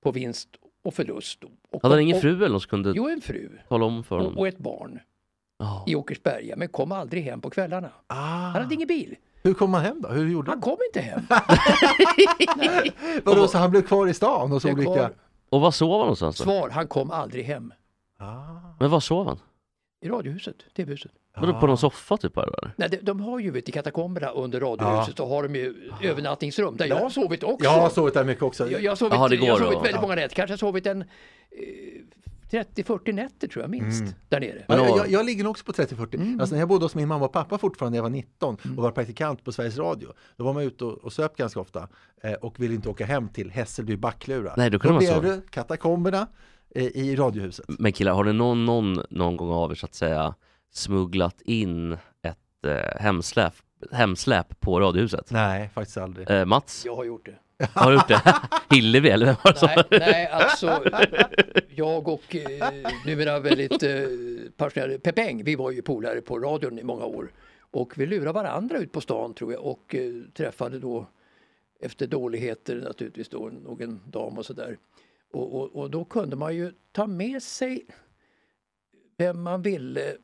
[SPEAKER 4] på vinst och förlust. Och,
[SPEAKER 3] Hade han ingen
[SPEAKER 4] och-
[SPEAKER 3] fru eller någon som kunde
[SPEAKER 4] Jo, en fru
[SPEAKER 3] tala om för
[SPEAKER 4] och,
[SPEAKER 3] honom?
[SPEAKER 4] och ett barn
[SPEAKER 3] Ja.
[SPEAKER 4] i Åkersberga men kom aldrig hem på kvällarna. Han
[SPEAKER 2] Ah.
[SPEAKER 4] hade ingen bil.
[SPEAKER 2] Hur kom han hem då? Hur gjorde
[SPEAKER 4] Han
[SPEAKER 2] han?
[SPEAKER 4] kom inte hem.
[SPEAKER 2] Vadå, så han blev kvar i stan hos
[SPEAKER 4] Blev kvar.
[SPEAKER 2] olika...
[SPEAKER 3] Och var sov han någonstans då?
[SPEAKER 4] Svar, han kom aldrig hem.
[SPEAKER 2] Ah.
[SPEAKER 3] Men var sov han?
[SPEAKER 4] I radiohuset, tv-huset.
[SPEAKER 3] Vadå på
[SPEAKER 4] Ah.
[SPEAKER 3] någon soffa typ? här, Eller?
[SPEAKER 4] Nej, de, de har ju vet, i katakomberna under
[SPEAKER 3] Ah.
[SPEAKER 4] radiohuset så har de ju övernattningsrum där jag har sovit också.
[SPEAKER 2] Jag har sovit där mycket också.
[SPEAKER 4] jag, jag har sovit,
[SPEAKER 3] Jaha, det går
[SPEAKER 4] jag har
[SPEAKER 3] då.
[SPEAKER 4] sovit väldigt
[SPEAKER 3] Ja.
[SPEAKER 4] många nätter, kanske har sovit en eh, 30-40 nätter tror jag minst där nere.
[SPEAKER 2] Ja,
[SPEAKER 3] Mm. Men-
[SPEAKER 2] jag, jag, jag ligger nog också på 30-40. Alltså när jag bodde hos min mamma och pappa fortfarande när jag var 19 och var praktikant på Sveriges Radio. Då var man ute och, och söp ganska ofta eh, och ville inte åka hem till Hässelby Backlura.
[SPEAKER 3] Nej, då kunde man
[SPEAKER 2] blev
[SPEAKER 3] sova.
[SPEAKER 2] det katakomberna eh, i radiohuset.
[SPEAKER 3] Men killar, har det någon, någon, någon gång av er så att säga smugglat in ett eh, hemsläp, hemsläp på Radiohuset?
[SPEAKER 2] Nej, faktiskt aldrig.
[SPEAKER 3] Eh, Mats?
[SPEAKER 4] Jag har gjort det.
[SPEAKER 3] Har du gjort det? Hillevi eller vem var det som...
[SPEAKER 4] Nej, nej, alltså jag och eh, numera väldigt eh, passionerade Pepeng, vi var ju polare på radion i många år. Och vi lurade varandra ut på stan tror jag och eh, träffade då efter dåligheter naturligtvis då någon dam och sådär. Och, och, och då kunde man ju ta med sig vem man ville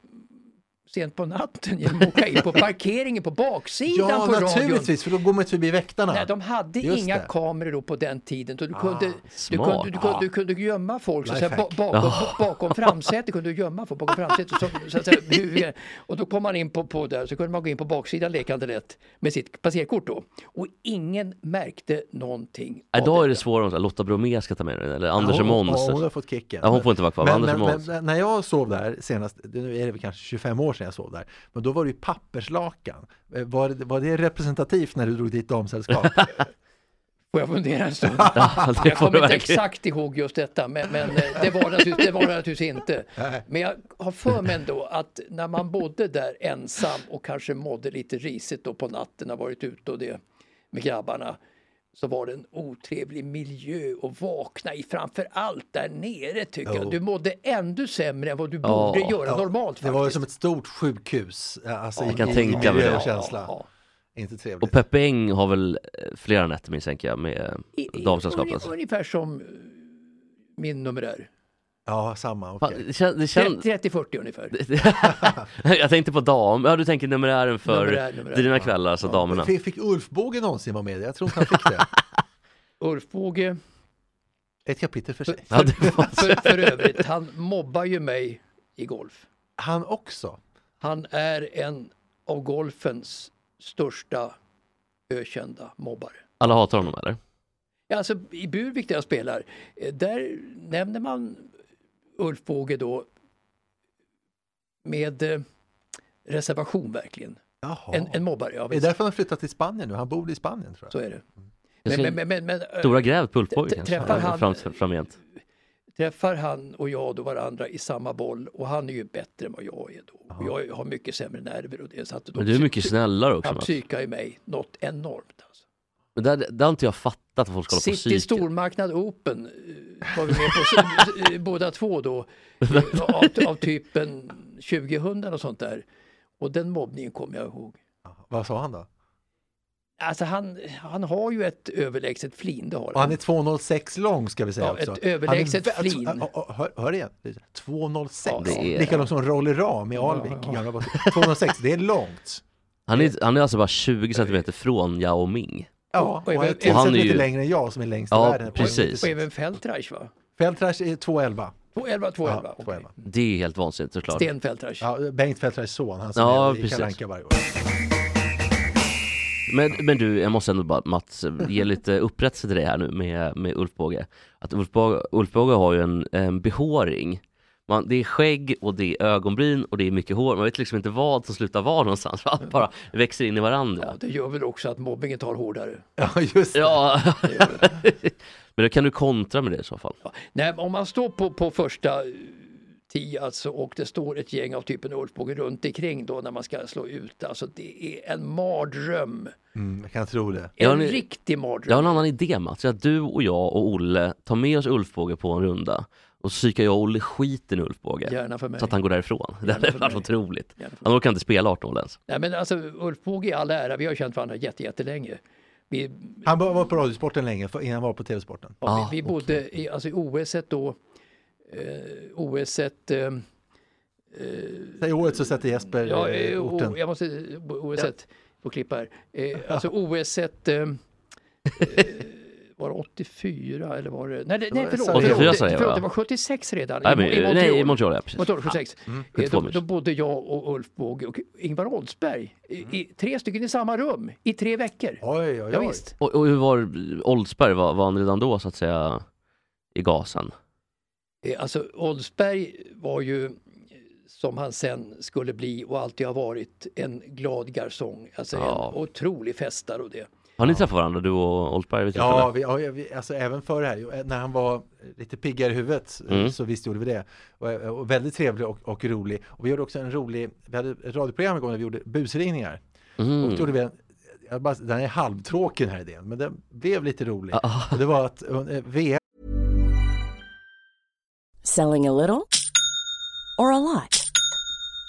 [SPEAKER 4] sent på natten genom att åka in på parkeringen på baksidan
[SPEAKER 2] Ja,
[SPEAKER 4] på radion.
[SPEAKER 2] naturligtvis, för då går man inte förbi väktarna.
[SPEAKER 4] Nej, de hade
[SPEAKER 2] Just
[SPEAKER 4] inga
[SPEAKER 2] det.
[SPEAKER 4] kameror då på den tiden. Så du,
[SPEAKER 2] Ah,
[SPEAKER 4] kunde, du,
[SPEAKER 3] smart.
[SPEAKER 4] kunde, du, kunde, du kunde gömma folk så att säga, ba-
[SPEAKER 2] Lifehack.
[SPEAKER 4] bakom, bakom framsätet. kunde du gömma folk bakom framsätet. Så, så att säga, hur- och då kom man in på, på där, så kunde man gå in på baksidan lekande lätt med sitt passerkort då. Och ingen märkte någonting. av
[SPEAKER 3] Idag är det
[SPEAKER 4] detta.
[SPEAKER 3] svårare om så här, Lotta Bromé ska ta med den, eller Anders
[SPEAKER 2] Ja,
[SPEAKER 3] och
[SPEAKER 2] hon-
[SPEAKER 3] Måns.
[SPEAKER 2] Ja, hon har fått kicken.
[SPEAKER 3] Ja, hon får inte vara kvar, men
[SPEAKER 2] Men,
[SPEAKER 3] Anders
[SPEAKER 2] men,
[SPEAKER 3] och Måns.
[SPEAKER 2] men när jag sov där senast, nu är det väl kanske 25 år sedan jag sov där, men då var det ju papperslakan. Eh, Var det, var det representativt när du drog dit damsällskap?
[SPEAKER 4] Får jag fundera en stund?
[SPEAKER 3] Ja, det
[SPEAKER 4] Jag
[SPEAKER 3] får
[SPEAKER 4] kommer
[SPEAKER 3] du
[SPEAKER 4] inte
[SPEAKER 3] verkligen.
[SPEAKER 4] exakt ihåg just detta, men, men eh, det, var det naturligtvis, det var det naturligtvis inte. Men jag har för mig ändå att när man bodde där ensam och kanske mådde lite risigt då på natten, har varit ute och det med grabbarna, så var det en otrevlig miljö att vakna i, framför allt där nere tycker jag. Du mådde ännu sämre än vad du
[SPEAKER 3] Ja.
[SPEAKER 4] borde göra normalt
[SPEAKER 2] det var ju
[SPEAKER 4] faktiskt.
[SPEAKER 2] som ett stort sjukhus. eh, Alltså,
[SPEAKER 4] Ja,
[SPEAKER 2] i-
[SPEAKER 4] jag kan
[SPEAKER 2] i-
[SPEAKER 3] tänka
[SPEAKER 2] i
[SPEAKER 3] mig det.
[SPEAKER 2] miljö och känsla.
[SPEAKER 4] Ja,
[SPEAKER 2] Inte trevligt.
[SPEAKER 3] Och Peppe Eng har väl eh, flera nätter misstänker jag med eh,
[SPEAKER 4] ja. I- i-
[SPEAKER 3] damsällskapet.
[SPEAKER 4] ungefär- Ungefär som eh, min numerär.
[SPEAKER 2] Ja, samma.
[SPEAKER 3] Fan,
[SPEAKER 2] okej.
[SPEAKER 3] Det kän- det kän-
[SPEAKER 4] 30-40 ungefär.
[SPEAKER 3] jag tänkte på dam, ja du tänker numerären för
[SPEAKER 4] Numerär, numerär.
[SPEAKER 3] dina kvällar, alltså damerna.
[SPEAKER 2] Fick, fick Ulf Båge någonsin vara med? Jag tror inte han fick det.
[SPEAKER 4] Ulf Båge,
[SPEAKER 2] Ett kapitel för sig.
[SPEAKER 3] Ja, det var...
[SPEAKER 4] för, för övrigt, han mobbar ju mig i golf.
[SPEAKER 2] Han också.
[SPEAKER 4] Han är en av golfens största ökända mobbare.
[SPEAKER 3] Alla hatar honom eller?
[SPEAKER 4] Ja, Alltså i Burvik där jag spelar, eh, där nämner man Ulf Båge då med eh, reservation verkligen.
[SPEAKER 2] Jaha.
[SPEAKER 4] En, en mobbare, ja
[SPEAKER 2] Det är
[SPEAKER 4] visst,
[SPEAKER 2] därför han har flyttat till Spanien nu. Han bor i Spanien tror
[SPEAKER 4] så
[SPEAKER 2] jag.
[SPEAKER 4] är det.
[SPEAKER 3] Mm. Jag
[SPEAKER 4] Men,
[SPEAKER 3] ser
[SPEAKER 4] men, men, men, men eh,
[SPEAKER 3] Stora gräv på Ulfborg
[SPEAKER 4] T-
[SPEAKER 3] kanske,
[SPEAKER 4] träffar han-
[SPEAKER 3] fram, framgent.
[SPEAKER 4] träffar han och jag då varandra i samma boll och han är ju bättre än vad jag är då. Och jag har mycket sämre nerver och det. Så att då
[SPEAKER 3] Men du är mycket snällare också
[SPEAKER 4] Han
[SPEAKER 3] Mats.
[SPEAKER 4] psykar ju mig något enormt. Alltså.
[SPEAKER 3] Men där, där har inte jag fattat att folk ska hålla på typ.
[SPEAKER 4] City
[SPEAKER 3] psyket.
[SPEAKER 4] Stormarknad Open eh, var vi med på s- eh, båda två då. eh, Av, av typen 2000 och sånt där. Och den mobbningen kommer jag ihåg.
[SPEAKER 2] Vad sa han då?
[SPEAKER 4] Alltså han, han har ju ett överlägset flin, det har
[SPEAKER 2] Och
[SPEAKER 4] han.
[SPEAKER 2] han är 2,06 lång ska vi säga
[SPEAKER 4] Ja,
[SPEAKER 2] också.
[SPEAKER 4] ett överlägset
[SPEAKER 2] Han är vä-
[SPEAKER 4] flin.
[SPEAKER 2] Ja, ja, Hör, hör igen, 2,06.
[SPEAKER 4] Ja,
[SPEAKER 3] det är-
[SPEAKER 2] Lika lång som Rolly Ram i Alvik.
[SPEAKER 4] ja.
[SPEAKER 2] gamla bas- 2,06, det är långt.
[SPEAKER 3] Han är, han är alltså bara 20 centimeter från Yao Ming.
[SPEAKER 2] Ja, och,
[SPEAKER 4] även-
[SPEAKER 2] han är
[SPEAKER 4] och
[SPEAKER 2] tusen
[SPEAKER 3] han är
[SPEAKER 2] meter
[SPEAKER 3] ju-
[SPEAKER 2] längre än jag som är längst
[SPEAKER 3] Ja,
[SPEAKER 2] i världen.
[SPEAKER 3] precis.
[SPEAKER 4] Och även Feldreich va?
[SPEAKER 2] Feldtrash är 2,11.
[SPEAKER 4] 211, 211.
[SPEAKER 2] Ja,
[SPEAKER 4] okej.
[SPEAKER 2] 2,11.
[SPEAKER 3] Det är helt vansinnigt såklart.
[SPEAKER 4] Sten Feldreich.
[SPEAKER 2] Ja, Bengt Feldtrash son, han som
[SPEAKER 3] Ja,
[SPEAKER 2] är i
[SPEAKER 3] precis.
[SPEAKER 2] Kalle Anka varje år.
[SPEAKER 3] Men, men du, jag måste ändå bara Mats, ge lite upprättelse till dig här nu med, med Ulf Båge. Att Ulf Båge, Ulf Båge har ju en, en behåring. Man, det är skägg och det är ögonbryn och det är mycket hår. Man vet liksom inte vad som slutar vara någonstans. För allt bara växer in i
[SPEAKER 4] Ja,
[SPEAKER 3] varandra.
[SPEAKER 4] det gör väl också att mobbingen tar hårdare.
[SPEAKER 2] Ja, just det.
[SPEAKER 3] Ja. Men då kan du kontra med det i så fall.
[SPEAKER 4] Ja. Nej, men om man står på, på första eh, tio alltså, och det står ett gäng av typen Ulfbåge runt omkring då när man ska slå ut. Alltså det är en mardröm.
[SPEAKER 2] Mm, jag kan tro det.
[SPEAKER 3] Ja,
[SPEAKER 4] En
[SPEAKER 3] ni-
[SPEAKER 4] riktig
[SPEAKER 3] Jag har
[SPEAKER 4] mardröm.
[SPEAKER 3] en annan idé Mats, att du och jag och Olle tar med oss Ulf Båge på en runda och så psykar jag och Olle skiten i Ulf Båge.
[SPEAKER 4] Gärna för mig.
[SPEAKER 3] Så att han går därifrån. Det hade
[SPEAKER 4] för
[SPEAKER 3] varit
[SPEAKER 4] mig.
[SPEAKER 3] otroligt.
[SPEAKER 4] Gärna för
[SPEAKER 3] Han orkar inte spela 18 år ens.
[SPEAKER 4] Nej, men alltså, Ulfbåge i all ära, vi har känt varandra jätte, jättelänge. Vi,
[SPEAKER 2] Han var var på Radiosporten länge för- innan han var på TV-sporten.
[SPEAKER 3] Ah,
[SPEAKER 4] vi, vi bodde i, alltså, i OS då, eh, OS eh,
[SPEAKER 2] I året så sätter Jesper
[SPEAKER 4] Ja, eh,
[SPEAKER 2] eh, orten.
[SPEAKER 4] o, jag måste, OS ja. på klippa här. Eh, alltså OS eh, eh, var det 84 eller var det? Nej, det, nej förlåt,
[SPEAKER 2] 84
[SPEAKER 4] förlåt,
[SPEAKER 3] säger jag,
[SPEAKER 4] förlåt,
[SPEAKER 3] va?
[SPEAKER 4] det var 76 redan.
[SPEAKER 3] Nej, men, eh,
[SPEAKER 4] i, Mo- i
[SPEAKER 3] nej, i
[SPEAKER 4] Montreal.
[SPEAKER 3] Montreal, ja, Mm. precis.
[SPEAKER 4] Montreal 76. Eh,
[SPEAKER 3] 72
[SPEAKER 4] då, då bodde jag och Ulf Båge och Ingvar Oldsberg, i, i,
[SPEAKER 3] Mm.
[SPEAKER 4] tre stycken i samma rum i tre veckor.
[SPEAKER 2] Oj, oj,
[SPEAKER 4] Ja,
[SPEAKER 2] oj.
[SPEAKER 4] visst.
[SPEAKER 3] Och, och hur var Oldsberg, var, var han redan då så att säga i gasen?
[SPEAKER 4] Eh, Alltså Oldsberg var ju eh, som han sen skulle bli och alltid har varit en glad garçon. Alltså
[SPEAKER 3] Ja.
[SPEAKER 4] en otrolig festare och det.
[SPEAKER 3] Har ni träffat varandra du och Oldsberg? vid
[SPEAKER 2] Ja,
[SPEAKER 3] tillfälle?
[SPEAKER 2] vi, ja vi, alltså även för det här, ju, när han var lite piggare i huvudet eh,
[SPEAKER 3] Mm.
[SPEAKER 2] så visst gjorde vi det. Och, eh, och väldigt trevlig och, och rolig. Och vi gjorde också en rolig, vi hade ett radioprogram igång där vi gjorde busringningar. Och då
[SPEAKER 3] Mm.
[SPEAKER 2] gjorde vi en, jag bara, den är halvtråkig den här idén, men den blev lite rolig.
[SPEAKER 3] Ja.
[SPEAKER 2] Och det var att eh, VM
[SPEAKER 6] Selling a little or a lot?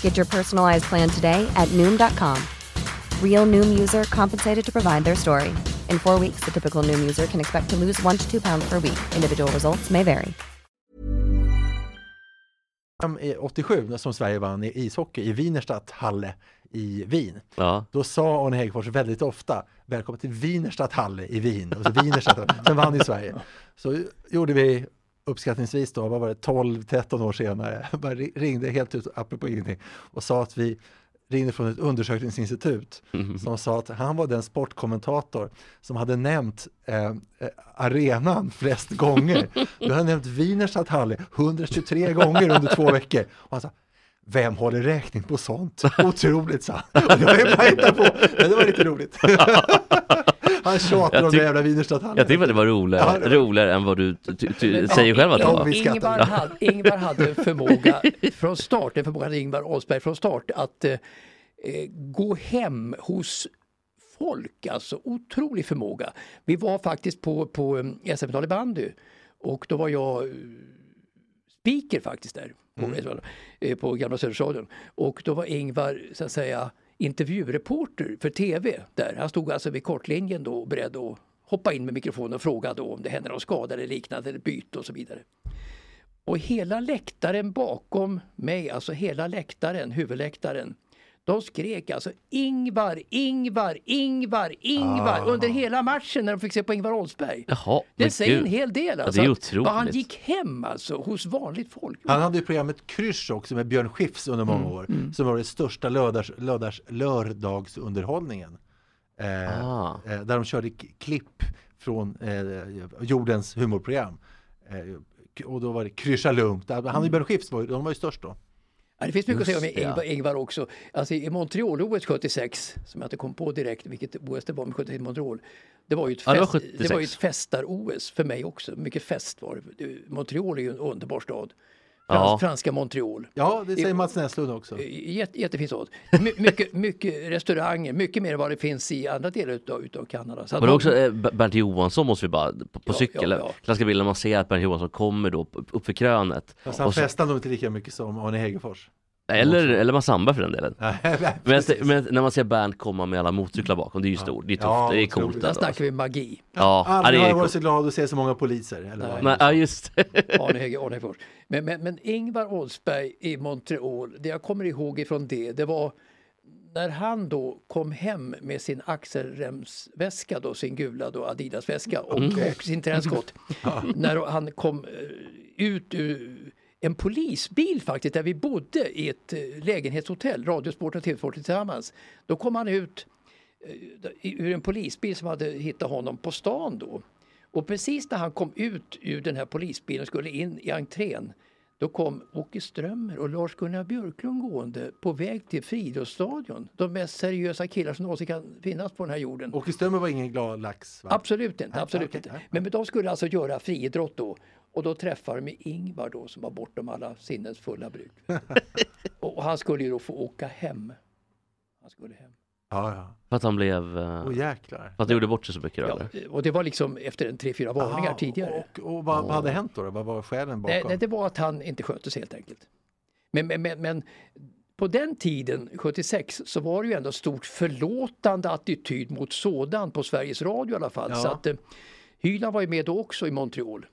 [SPEAKER 7] Get your personalized plan today at Noom.com. Real Noom user compensated to provide their story. In four weeks, the typical Noom user can expect to lose one to two pounds per week. Individual results may vary.
[SPEAKER 2] i 87, som Sverige vann i ishockey i Wienerstadthalle i Wien,
[SPEAKER 3] Ja.
[SPEAKER 2] då sa Arne Häggfors väldigt ofta Välkommen till Wienerstadthalle i Wien. Och så Wienerstadthalle. Sen vann ju Sverige. Så gjorde vi uppskattningsvis då, vad var det, 12-13 år senare, bara ri- ringde helt ut, apropå ingenting, och sa att vi ringde från ett undersökningsinstitut som sa att han var den sportkommentator som hade nämnt eh, eh, arenan flest gånger. Du hade nämnt Wienerstadthalle 123 gånger under två veckor. Och han sa, vem håller räkning på sånt? Otroligt, sa han. Och det var ju bara hitta på, men det var lite roligt. Han tjatar om
[SPEAKER 3] tyck-
[SPEAKER 2] den jävla Wienerstadthalle.
[SPEAKER 3] Jag tyckte att det var roligare,
[SPEAKER 2] Ja, det var-
[SPEAKER 3] roligare än vad du ty- ty- ty- säger själv att det
[SPEAKER 2] Ja,
[SPEAKER 3] var.
[SPEAKER 2] vi skrattar.
[SPEAKER 4] Ingvar, hade, Ingvar hade en förmåga från start, en förmåga hade Ingvar Oldsberg från start att eh, eh, gå hem hos folk, alltså otrolig förmåga. Vi var faktiskt på, på eh, SM-final i bandy och då var jag eh, speaker faktiskt där på,
[SPEAKER 3] Mm.
[SPEAKER 4] eh, på Gamla Söderstadion och då var Ingvar så att säga intervjureporter för TV där. Han stod alltså vid kortlinjen då och beredd att hoppa in med mikrofonen och fråga då om det hände någon skada eller liknande eller byte och så vidare. Och hela läktaren bakom mig, alltså hela läktaren, huvudläktaren, de skrek alltså Ingvar, Ingvar, Ingvar, Ingvar under hela matchen när de fick se på Ingvar Oldsberg.
[SPEAKER 3] Ah. Jaha, men
[SPEAKER 4] det säger en
[SPEAKER 3] gud.
[SPEAKER 4] hel del
[SPEAKER 3] det
[SPEAKER 4] alltså.
[SPEAKER 3] är
[SPEAKER 4] att
[SPEAKER 3] otroligt.
[SPEAKER 4] vad Han gick hem alltså hos vanligt folk.
[SPEAKER 2] Han hade ju programmet Krysch också med Björn Skifs under
[SPEAKER 3] Mm,
[SPEAKER 2] många år, som var det största lördags, lördags, lördagsunderhållningen. Eh,
[SPEAKER 3] Ah.
[SPEAKER 2] eh, där de körde k- klipp från eh, jordens humorprogram. Eh, k- och då var det Kryscha lugnt. Han och Björn Skifs var, ju- de var ju störst då.
[SPEAKER 4] Ja, det finns mycket att
[SPEAKER 3] Just
[SPEAKER 4] säga om
[SPEAKER 3] det, ja.
[SPEAKER 4] Ingvar, Ingvar också. Alltså i Montreal-OS 76, som jag inte kom på direkt vilket OS det var, men 76 Montreal. Det var ju ett,
[SPEAKER 3] Ja, det var
[SPEAKER 4] fest, det
[SPEAKER 3] 76.
[SPEAKER 4] var ju ett festar-OS för mig också. Mycket fest var det. det. Montreal är ju en underbar stad. Frans,
[SPEAKER 3] Ja.
[SPEAKER 4] Franska Montreal.
[SPEAKER 2] Ja, det säger Mats Näslund också.
[SPEAKER 4] Jätte, jättefin stad. My, mycket, mycket restauranger, mycket mer än vad det finns i andra delar utav, utav Kanada. Så att
[SPEAKER 3] Men
[SPEAKER 4] man-
[SPEAKER 3] också eh, Ber- Bernt Johansson måste vi bara, på, på
[SPEAKER 4] Ja,
[SPEAKER 3] cykel,
[SPEAKER 4] ja, ja.
[SPEAKER 3] klassiska bilden man ser att Bernt Johansson kommer då upp- uppför krönet.
[SPEAKER 2] Fast han
[SPEAKER 3] Och så-
[SPEAKER 2] festade nog inte lika mycket som Arne Hegerfors.
[SPEAKER 3] eller, eller Massamba för den delen.
[SPEAKER 2] Nej,
[SPEAKER 3] Men, jag
[SPEAKER 2] precis.
[SPEAKER 3] ser- men när man ser Bernt komma med alla motorcyklar bakom, det är ju stort, det är tufft,
[SPEAKER 2] Ja,
[SPEAKER 3] det är coolt.
[SPEAKER 2] otroligt.
[SPEAKER 4] Där
[SPEAKER 3] alltså.
[SPEAKER 4] snackar vi magi.
[SPEAKER 3] Ja, ja,
[SPEAKER 2] Aldrig
[SPEAKER 3] det
[SPEAKER 2] har
[SPEAKER 3] är
[SPEAKER 2] jag varit
[SPEAKER 3] coolt.
[SPEAKER 2] så glad att se så många poliser. Eller vad?
[SPEAKER 3] Nej, Ja, just det.
[SPEAKER 4] Arne Höger, Arne Fors. Men, men, men Ingvar Oldsberg i Montreal, det jag kommer ihåg ifrån det, det var när han då kom hem med sin axelremsväska då, sin gula då Adidas-väska och, och sin träskott. När han kom eh, ut ur en polisbil faktiskt, där vi bodde i ett eh, lägenhetshotell, Radiosporten och TV-sporten tillsammans. Då kom han ut i- ur en polisbil som hade hittat honom på stan då. Och precis när han kom ut ur den här polisbilen och skulle in i entrén då kom Åke Strömmer och Lars-Gunnar Björklund gående på väg till Friluftsstadion. De mest seriösa killar som någonsin kan finnas på den här jorden.
[SPEAKER 2] Åke Strömmer var ingen glad lax. Va?
[SPEAKER 4] Absolut inte, absolut
[SPEAKER 2] okej,
[SPEAKER 4] inte.
[SPEAKER 2] nej.
[SPEAKER 4] Men, men de skulle alltså göra friidrott då. Och då träffade de Ingvar då som var bortom alla sinnens fulla bruk. och, och han skulle ju då få åka hem. Han skulle hem.
[SPEAKER 2] Ja, ja.
[SPEAKER 3] För att han blev... eh,
[SPEAKER 2] Åh jäklar.
[SPEAKER 3] För att han gjorde bort sig så mycket då,
[SPEAKER 4] Ja,
[SPEAKER 3] eller?
[SPEAKER 4] och det var liksom efter en tre, fyra varningar
[SPEAKER 2] Aha,
[SPEAKER 4] tidigare.
[SPEAKER 2] Och, Ah, och vad, vad hade hänt då? då? Vad var skälen bakom?
[SPEAKER 4] Nej, nej, det var att han inte skötte sig helt enkelt. Men, men, men, men på den tiden, 76, så var det ju ändå stort förlåtande attityd mot sådan på Sveriges Radio i alla fall.
[SPEAKER 2] Ja.
[SPEAKER 4] Så att, eh, Hyland var ju med då också i Montreal.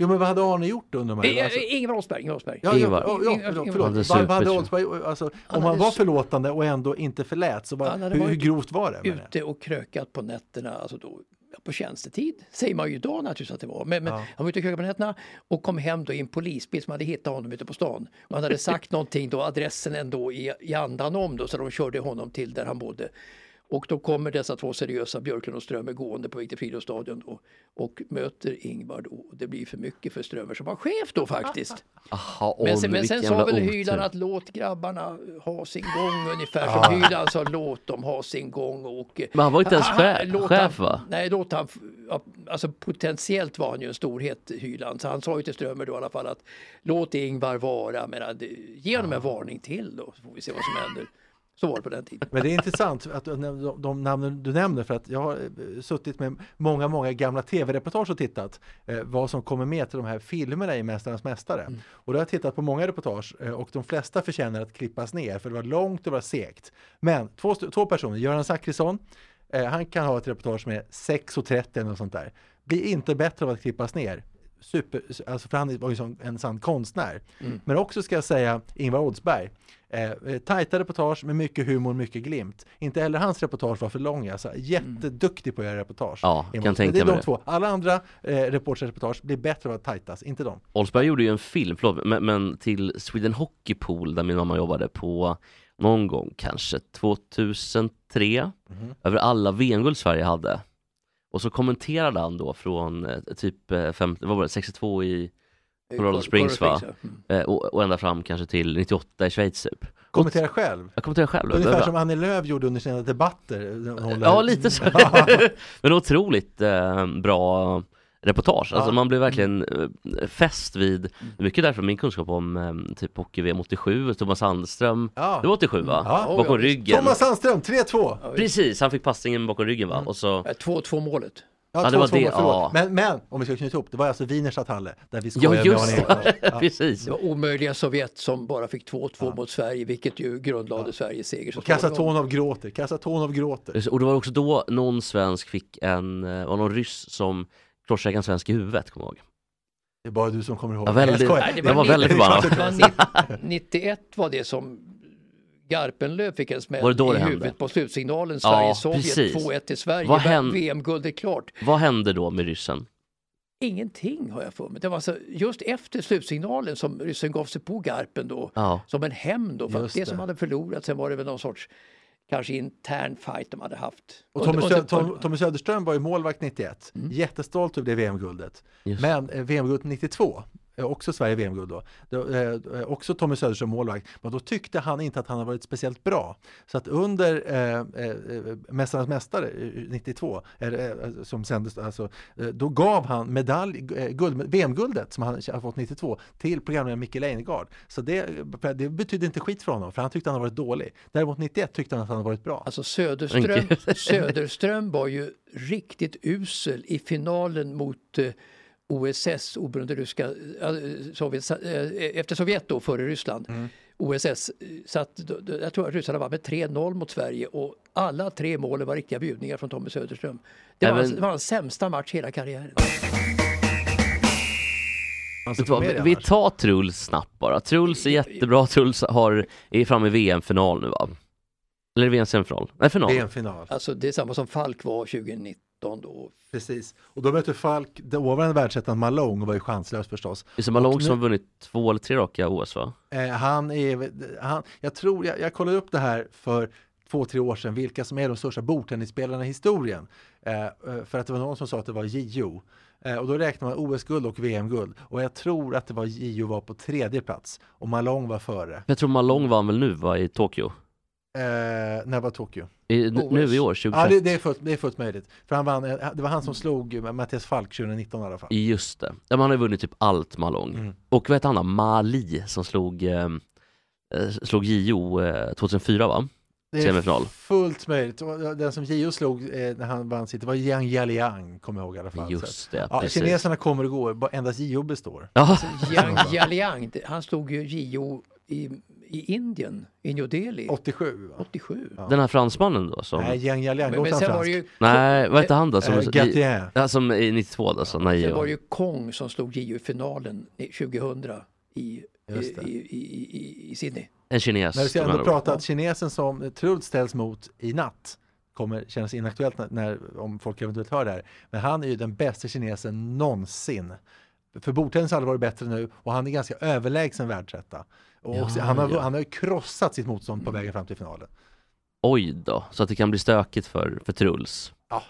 [SPEAKER 2] Jo, men vad hade Arne gjort undrar man ju.
[SPEAKER 4] Eh,
[SPEAKER 2] Alltså,
[SPEAKER 4] eh, Ingemar Oldsberg, Ingemar Oldsberg.
[SPEAKER 2] Ja, ja,
[SPEAKER 3] Ingvar.
[SPEAKER 2] ja, ja, förlåt.
[SPEAKER 4] Ingvar.
[SPEAKER 2] förlåt. Vad-
[SPEAKER 3] Han hade
[SPEAKER 2] vad hade
[SPEAKER 3] supit,
[SPEAKER 2] Oldsberg, alltså, om
[SPEAKER 4] Han
[SPEAKER 2] man
[SPEAKER 4] hade
[SPEAKER 2] var
[SPEAKER 4] su-
[SPEAKER 2] förlåtande och ändå inte förlät, så vad,
[SPEAKER 4] Han hade
[SPEAKER 2] hur, hur
[SPEAKER 4] varit
[SPEAKER 2] grovt var det? menar jag?
[SPEAKER 4] Ute och krökat på nätterna, alltså då, ja, på tjänstetid, säger man ju idag naturligtvis att det var. Men, men
[SPEAKER 2] Ja.
[SPEAKER 4] han var ute och krökade på nätterna och kom hem då i en polisbil som hade hittat honom ute på stan. Och han hade sagt någonting då, adressen ändå i, i andan om då, så de körde honom till där han bodde. Och då kommer dessa två seriösa Björklund och Strömer gående på Viktor Fridolfsstadion då, och möter Ingvar då. Och Det blir för mycket för Strömer som var chef då faktiskt.
[SPEAKER 3] Aha,
[SPEAKER 4] Men
[SPEAKER 3] åh,
[SPEAKER 4] sen, men sen
[SPEAKER 3] vilken jävla
[SPEAKER 4] sa väl
[SPEAKER 3] otur.
[SPEAKER 4] Hyland att låt grabbarna ha sin gång ungefär som Hyland sa låt dem ha sin gång. Och,
[SPEAKER 3] Ah. Men han var inte ens chef-
[SPEAKER 4] låt
[SPEAKER 3] chef,
[SPEAKER 4] han,
[SPEAKER 3] va?
[SPEAKER 4] Nej, låt han, ja, alltså potentiellt var han ju en storhet Hyland. Så han sa ju till Strömer då i alla fall att låt Ingvar vara, men att, ge honom
[SPEAKER 3] Ah.
[SPEAKER 4] en varning till då så får vi se vad som händer. Så var det på den tiden.
[SPEAKER 2] Men det är intressant att du näm- de, de namnen du nämner för att jag har eh, suttit med många, många gamla tv-reportage och tittat eh, vad som kommer med till de här filmerna i Mästarnas Mästare. Och då har jag tittat på många reportage eh, och de flesta förtjänar att klippas ner för det var långt och det var segt. Men två, st- två personer, Göran Zachrisson, eh, han kan ha ett reportage som är 6.30 eller något sånt där. Blir inte bättre av att klippas ner. Super, alltså för han var ju som en sann konstnär. Men också ska jag säga Ingvar Oldsberg. Eh, eh, tajta reportage med mycket humor, mycket glimt. Inte heller hans reportage var för långa. Alltså, jätteduktig på att göra reportage.
[SPEAKER 3] Ja,
[SPEAKER 2] Ingvar
[SPEAKER 3] kan
[SPEAKER 2] Oldsberg.
[SPEAKER 3] tänka
[SPEAKER 2] det är de
[SPEAKER 3] mig det.
[SPEAKER 2] två. Alla andra eh, reporterreportage blir bättre av att tajtas, inte de.
[SPEAKER 3] Oldsberg gjorde ju en film, förlåt, men, men till Sweden Hockey Pool där min mamma jobbade på någon gång, kanske 2003,
[SPEAKER 2] Mhm.
[SPEAKER 3] över alla VM-guld Sverige hade. Och så kommenterade han då från eh, typ eh, fem, vad var det, 62 i, Colorado Springs, va?
[SPEAKER 4] ja. Mm.
[SPEAKER 3] eh, och, och ända fram kanske till 98 i Schweiz typ.
[SPEAKER 2] Kommentera själv.
[SPEAKER 3] Jag kommenterade själv.
[SPEAKER 2] Ungefär
[SPEAKER 3] Över-
[SPEAKER 2] som Annie Lööf gjorde under sina debatter. eh, Hon håller-
[SPEAKER 3] Ja, lite så. Men otroligt eh, bra reportage. Alltså
[SPEAKER 2] Ja. Mm.
[SPEAKER 3] man blev verkligen eh, fäst vid, det är mycket därför min kunskap om eh, typ hockey-VM 87, Thomas Sandström,
[SPEAKER 2] Ja.
[SPEAKER 3] det var 87 va?
[SPEAKER 2] Ja.
[SPEAKER 3] Bakom
[SPEAKER 4] Ja,
[SPEAKER 3] ryggen.
[SPEAKER 2] Thomas Mm. Sandström, 3-2!
[SPEAKER 3] Precis, han fick passningen bakom ryggen va? Och så,
[SPEAKER 4] Eh, 2-2 målet.
[SPEAKER 2] Ja,
[SPEAKER 3] Ja, det
[SPEAKER 2] två
[SPEAKER 3] var
[SPEAKER 2] två,
[SPEAKER 3] det,
[SPEAKER 2] förlåt.
[SPEAKER 3] ja.
[SPEAKER 2] men, men om vi ska knyta ihop, det var alltså Wieners Halle där vi
[SPEAKER 3] ja
[SPEAKER 2] skojade
[SPEAKER 3] just
[SPEAKER 2] med Arne
[SPEAKER 3] det,
[SPEAKER 2] Ekdal.
[SPEAKER 3] precis.
[SPEAKER 4] Det var omöjliga Sovjet som bara fick 2-2 mot Sverige, vilket ju grundlade Sveriges seger. så
[SPEAKER 2] Och
[SPEAKER 4] småningom.
[SPEAKER 2] Kasatonov gråter, Kasatonov gråter.
[SPEAKER 3] Och det var också då någon svensk fick en, eh, var någon ryss som korsade en svensk i huvudet, kommer jag ihåg.
[SPEAKER 2] Det är bara du som kommer ihåg.
[SPEAKER 3] Ja, väldigt-
[SPEAKER 2] Jag skojar.
[SPEAKER 4] Nej, det
[SPEAKER 3] Jag var väldigt
[SPEAKER 4] nitt-
[SPEAKER 3] förbannad.
[SPEAKER 4] det var nitt- 91 var det som Garpenlöv fick en smäll
[SPEAKER 3] Var det då det
[SPEAKER 4] i
[SPEAKER 3] hände?
[SPEAKER 4] huvudet på slutsignalen
[SPEAKER 3] Ja,
[SPEAKER 4] Sverige-Sovjet
[SPEAKER 3] precis.
[SPEAKER 4] 2-1 till Sverige.
[SPEAKER 3] Vad hän-
[SPEAKER 4] VM-guld är klart.
[SPEAKER 3] Vad hände då med ryssen?
[SPEAKER 4] Ingenting har jag för mig. Det var alltså just efter slutsignalen som ryssen gav sig på Garpen då.
[SPEAKER 3] Ja.
[SPEAKER 4] Som en hämnd då. För att
[SPEAKER 2] Just
[SPEAKER 4] det,
[SPEAKER 2] det.
[SPEAKER 4] som hade förlorat, sen var det väl någon sorts kanske intern fight de hade haft.
[SPEAKER 2] Och Tommy,
[SPEAKER 4] sen-
[SPEAKER 2] Sö- Tom, Tommy Söderström var ju målvakt 91.
[SPEAKER 3] Mm.
[SPEAKER 2] Jättestolt över det VM-guldet. Men eh, VM-guldet 92, eh, också Sverige VM-guld då, då eh, eh, också Tommy Söderström målvakt, men då tyckte han inte att han hade varit speciellt bra. Så att under eh, eh, eh, Mästarnas Mästare eh, 92, eh, eh, som sändes, alltså, eh, då gav han medalj, eh, guld, VM-guldet som han har fått 92 till programledaren Micke Leijnegard. Så det, eh, det betydde inte skit för honom, för han tyckte han hade varit dålig. Däremot 91 tyckte han att han hade varit bra.
[SPEAKER 4] Alltså Söderström, Söderström var ju riktigt usel i finalen mot eh, OSS, oberoende ryska, eh, Sovjet, eh, efter Sovjet då, före Ryssland.
[SPEAKER 3] Mm.
[SPEAKER 4] OSS. eh, Så att, då- då- jag tror att ryssarna vann med 3-0 mot Sverige och alla tre målen var riktiga bjudningar från Tommy Söderström. Det var,
[SPEAKER 3] Även-
[SPEAKER 4] hans, det var hans sämsta match hela karriären.
[SPEAKER 2] Alltså,
[SPEAKER 3] Vet du vad,
[SPEAKER 2] kom med
[SPEAKER 3] vi,
[SPEAKER 2] det
[SPEAKER 3] vi
[SPEAKER 2] annars.
[SPEAKER 3] tar Truls snabbt bara. Truls är jättebra, Truls har, är framme i VM-final nu va? Eller VM-semifinal? Nej, final.
[SPEAKER 2] Det är en final.
[SPEAKER 4] Alltså det är samma som Falk var 2019 då.
[SPEAKER 2] Precis. Och då mötte Falk dåvarande världsettan Malone och var ju chanslös förstås.
[SPEAKER 3] Det är som Malone
[SPEAKER 2] Och
[SPEAKER 3] som
[SPEAKER 2] nu-
[SPEAKER 3] har vunnit två eller tre raka OS va?
[SPEAKER 2] Eh, han är, han, jag tror, jag, jag kollade upp det här för två, tre år sedan, vilka som är de största bordtennisspelarna i historien. Eh, eh, för att det var någon som sa att det var Gio. Eh, och då räknar man OS-guld och VM-guld. Och jag tror att det var Gio var på tredje plats och Malone var före.
[SPEAKER 3] Jag tror Malone vann väl nu va, i Tokyo?
[SPEAKER 2] Eh, när var Tokyo?
[SPEAKER 3] I, n-
[SPEAKER 4] OS.
[SPEAKER 3] Nu i år, 2021?
[SPEAKER 2] Ja, det, det, är fullt, det är fullt möjligt. För han vann, eh, det var han som slog Mattias Falk 2019 i alla fall.
[SPEAKER 3] Just det. Ja, men han har ju vunnit typ allt Malone.
[SPEAKER 2] Mm.
[SPEAKER 3] Och vad hette han då? Mali som slog, eh, eh, slog JO eh, 2004 va?
[SPEAKER 2] Det är
[SPEAKER 3] Semifinal.
[SPEAKER 2] fullt möjligt. Och Den som Gio slog eh, när han vann sitt, det var Jiang Jialiang, kommer jag ihåg i alla fall. Så att-
[SPEAKER 3] Just det,
[SPEAKER 2] Ja,
[SPEAKER 3] precis.
[SPEAKER 2] kineserna kommer och går, bara endast Gio består.
[SPEAKER 3] Ja,
[SPEAKER 4] Yang Jialiang, han slog ju Gio i, i Indien, i New Delhi,
[SPEAKER 2] 87 va?
[SPEAKER 4] 87.
[SPEAKER 3] Den här fransmannen då som...
[SPEAKER 2] Nej,
[SPEAKER 3] Nej,
[SPEAKER 2] Jiang Jalén,
[SPEAKER 4] Men, men
[SPEAKER 2] låter
[SPEAKER 4] sen
[SPEAKER 2] han
[SPEAKER 4] var det
[SPEAKER 2] fransk?
[SPEAKER 4] ju,
[SPEAKER 3] vad hette han då? Som,
[SPEAKER 2] Eh,
[SPEAKER 3] i,
[SPEAKER 2] Gatien.
[SPEAKER 3] ja, som i 92 då, så, nej,
[SPEAKER 4] sen var
[SPEAKER 3] ja.
[SPEAKER 4] det ju Kong som slog JU-finalen i 2000 i,
[SPEAKER 2] Just
[SPEAKER 4] i,
[SPEAKER 2] det.
[SPEAKER 4] i, i, i, i Sydney.
[SPEAKER 3] en kines.
[SPEAKER 2] När vi ska
[SPEAKER 3] med
[SPEAKER 2] ändå
[SPEAKER 3] andra ord.
[SPEAKER 2] prata att kinesen som Truls ställs mot i natt kommer kännas inaktuellt när, när, om folk eventuellt hör det här. Men han är ju den bästa kinesen någonsin. För bordtennis har aldrig varit bättre nu och han är ganska överlägsen världsetta. Och också, han, har,
[SPEAKER 3] ja.
[SPEAKER 2] han har ju krossat sitt motstånd på vägen fram till finalen.
[SPEAKER 3] Oj då, så att det kan bli stökigt för, för Truls.
[SPEAKER 2] Ja,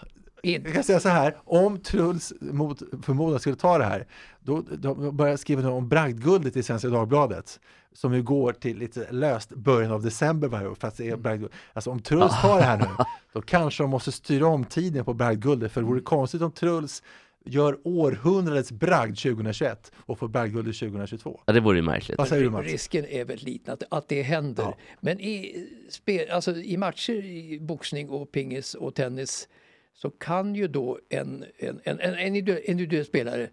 [SPEAKER 4] In,
[SPEAKER 2] jag kan säga så här, om Truls mot förmodan skulle ta det här, då, då börjar jag skriva om bragdguldet i Svenska Dagbladet, som ju går till lite löst början av december varje år, fast
[SPEAKER 4] Mm.
[SPEAKER 2] det är bragdguld. Alltså om Truls tar det här nu, då kanske de måste styra om tiden på bragdguldet, för det
[SPEAKER 4] Mm.
[SPEAKER 2] vore konstigt om Truls gör århundradets bragd 2021 och får bragdguldet 2022.
[SPEAKER 3] Ja, det vore ju märkligt.
[SPEAKER 2] Vad säger du Mats?
[SPEAKER 4] Risken är väldigt liten att, att det händer. Men i, spel, alltså i matcher i boxning och pingis och tennis så kan ju då en, en, en, en, en individu- individuell spelare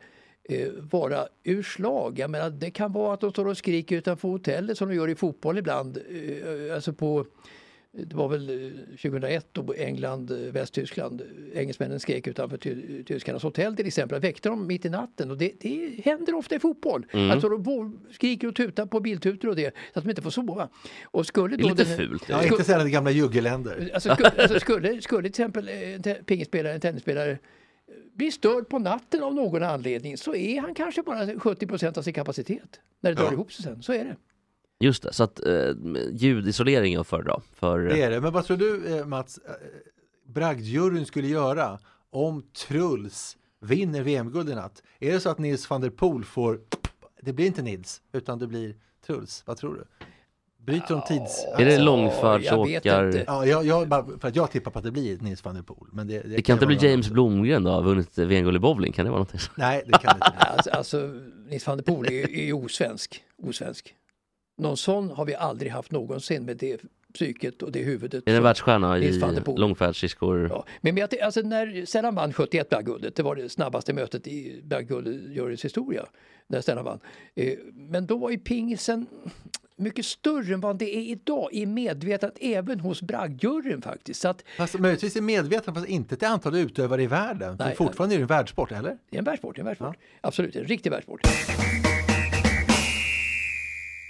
[SPEAKER 4] eh, vara ur slag. Jag menar, det kan vara att de står och skriker utanför hotellet som de gör i fotboll ibland. Eh, alltså på, det var väl eh, 2001 då England, eh, Västtyskland, eh, engelsmännen skrek utanför ty- tyskarnas hotell till exempel. Väckte dem mitt i natten och det, det händer ofta i fotboll.
[SPEAKER 3] Mm.
[SPEAKER 4] Alltså de vå- skriker och tutar på biltutor och det så att de inte får sova. Och skulle
[SPEAKER 3] Det
[SPEAKER 4] då
[SPEAKER 3] är lite
[SPEAKER 4] den-
[SPEAKER 3] fult.
[SPEAKER 2] Ja, inte sällan i gamla juggeländer.
[SPEAKER 4] Alltså, skulle, alltså skulle, skulle till exempel eh, en te- pingisspelare, en tennisspelare eh, bli störd på natten av någon anledning så är han kanske bara 70 procent av sin kapacitet när det drar ihop sig sen. Så är det.
[SPEAKER 3] Just det, så att eh, ljudisolering är att föredra. För,
[SPEAKER 2] Det är det, men vad tror du eh, Mats, eh, bragdjuryn skulle göra om Truls vinner VM-guld i natt? Är det så att Nils van der Poel får, det blir inte Nils, utan det blir Truls, vad tror du? Bryter de tids... Alltså,
[SPEAKER 3] Är det
[SPEAKER 4] jag vet inte.
[SPEAKER 3] långfärdsåkar?
[SPEAKER 2] Ja, jag, jag, bara för att jag tippar på att det blir Nils van der Poel. Men det,
[SPEAKER 3] Det kan inte
[SPEAKER 2] vara
[SPEAKER 3] bli
[SPEAKER 2] någon
[SPEAKER 3] James
[SPEAKER 2] annan.
[SPEAKER 3] Blomgren då, har vunnit VM-guld i bowling, kan det vara någonting?
[SPEAKER 2] Nej, det kan det inte bli.
[SPEAKER 4] Alltså, alltså Nils van der Poel är ju- är ju osvensk. osvensk. Någon sån har vi aldrig haft någonsin med det psyket och det huvudet.
[SPEAKER 3] Är det en
[SPEAKER 4] som-
[SPEAKER 3] världsstjärna
[SPEAKER 4] Nils
[SPEAKER 3] i
[SPEAKER 4] van der Poel.
[SPEAKER 3] långfärdsskridskor?
[SPEAKER 4] Ja, men men jag ty- alltså när Stellan vann 71 Bergguldet, det var det snabbaste mötet i Bergguldet-juryns historia, när Stellan vann. Eh, Men då var ju pingisen mycket större än vad det är idag i medvetandet även hos braggjuryn faktiskt. Så att
[SPEAKER 2] Fast möjligtvis är medveten, fast inte till antal utövare i världen. För
[SPEAKER 4] Nej.
[SPEAKER 2] fortfarande är det en världssport, eller?
[SPEAKER 4] det är en världssport, det är en världssport. Absolut, det är en riktig världssport.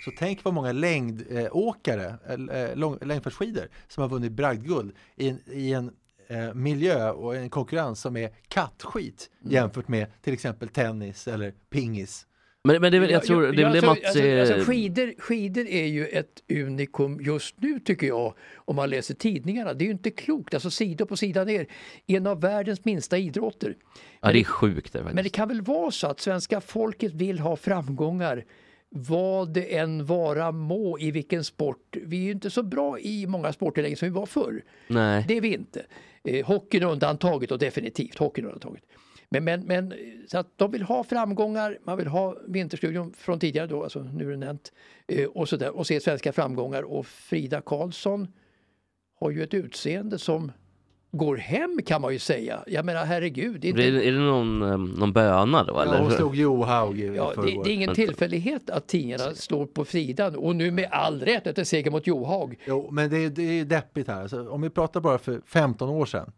[SPEAKER 2] Så tänk vad många längdåkare, eh, lång- längdfärdsskidor, som har vunnit bragdguld i en, i en eh, miljö och en konkurrens som är kattskit
[SPEAKER 4] Mm.
[SPEAKER 2] jämfört med till exempel tennis eller pingis.
[SPEAKER 3] Men, men det är väl, jag tror, det är väl det
[SPEAKER 4] alltså,
[SPEAKER 3] Mats... eh,
[SPEAKER 4] alltså,
[SPEAKER 3] är-
[SPEAKER 4] alltså, skidor, skidor är ju ett unikum just nu tycker jag om man läser tidningarna. Det är ju inte klokt, alltså sida på sida ner. En av världens minsta idrotter.
[SPEAKER 3] Ja, det är sjukt det
[SPEAKER 4] Men det
[SPEAKER 3] faktiskt.
[SPEAKER 4] kan väl vara så att svenska folket vill ha framgångar vad det än vara må i vilken sport. Vi är ju inte så bra i många sporter längre som vi var förr.
[SPEAKER 3] Nej.
[SPEAKER 4] Det är vi inte. Eh, hockeyn är undantaget och definitivt hockeyn är undantaget. Men, men, men eh, så att de vill ha framgångar, man vill ha Vinterstudion från tidigare då, alltså nu är det nämnt, eh, och, så där, och se svenska framgångar. Och Frida Karlsson har ju ett utseende som går hem kan man ju säga. Jag menar herregud. Det är inte...
[SPEAKER 3] Är det, är det någon, eh, någon böna då eller?
[SPEAKER 2] Ja, hon slog Johaug i
[SPEAKER 4] Ja, det,
[SPEAKER 2] förrgår.
[SPEAKER 4] det är ingen tillfällighet att tidningarna slår på Fridan och nu med all rätt efter seger mot Johaug.
[SPEAKER 2] Jo, men det, är- det är ju deppigt här. Alltså, om vi pratar bara för 15 år sedan.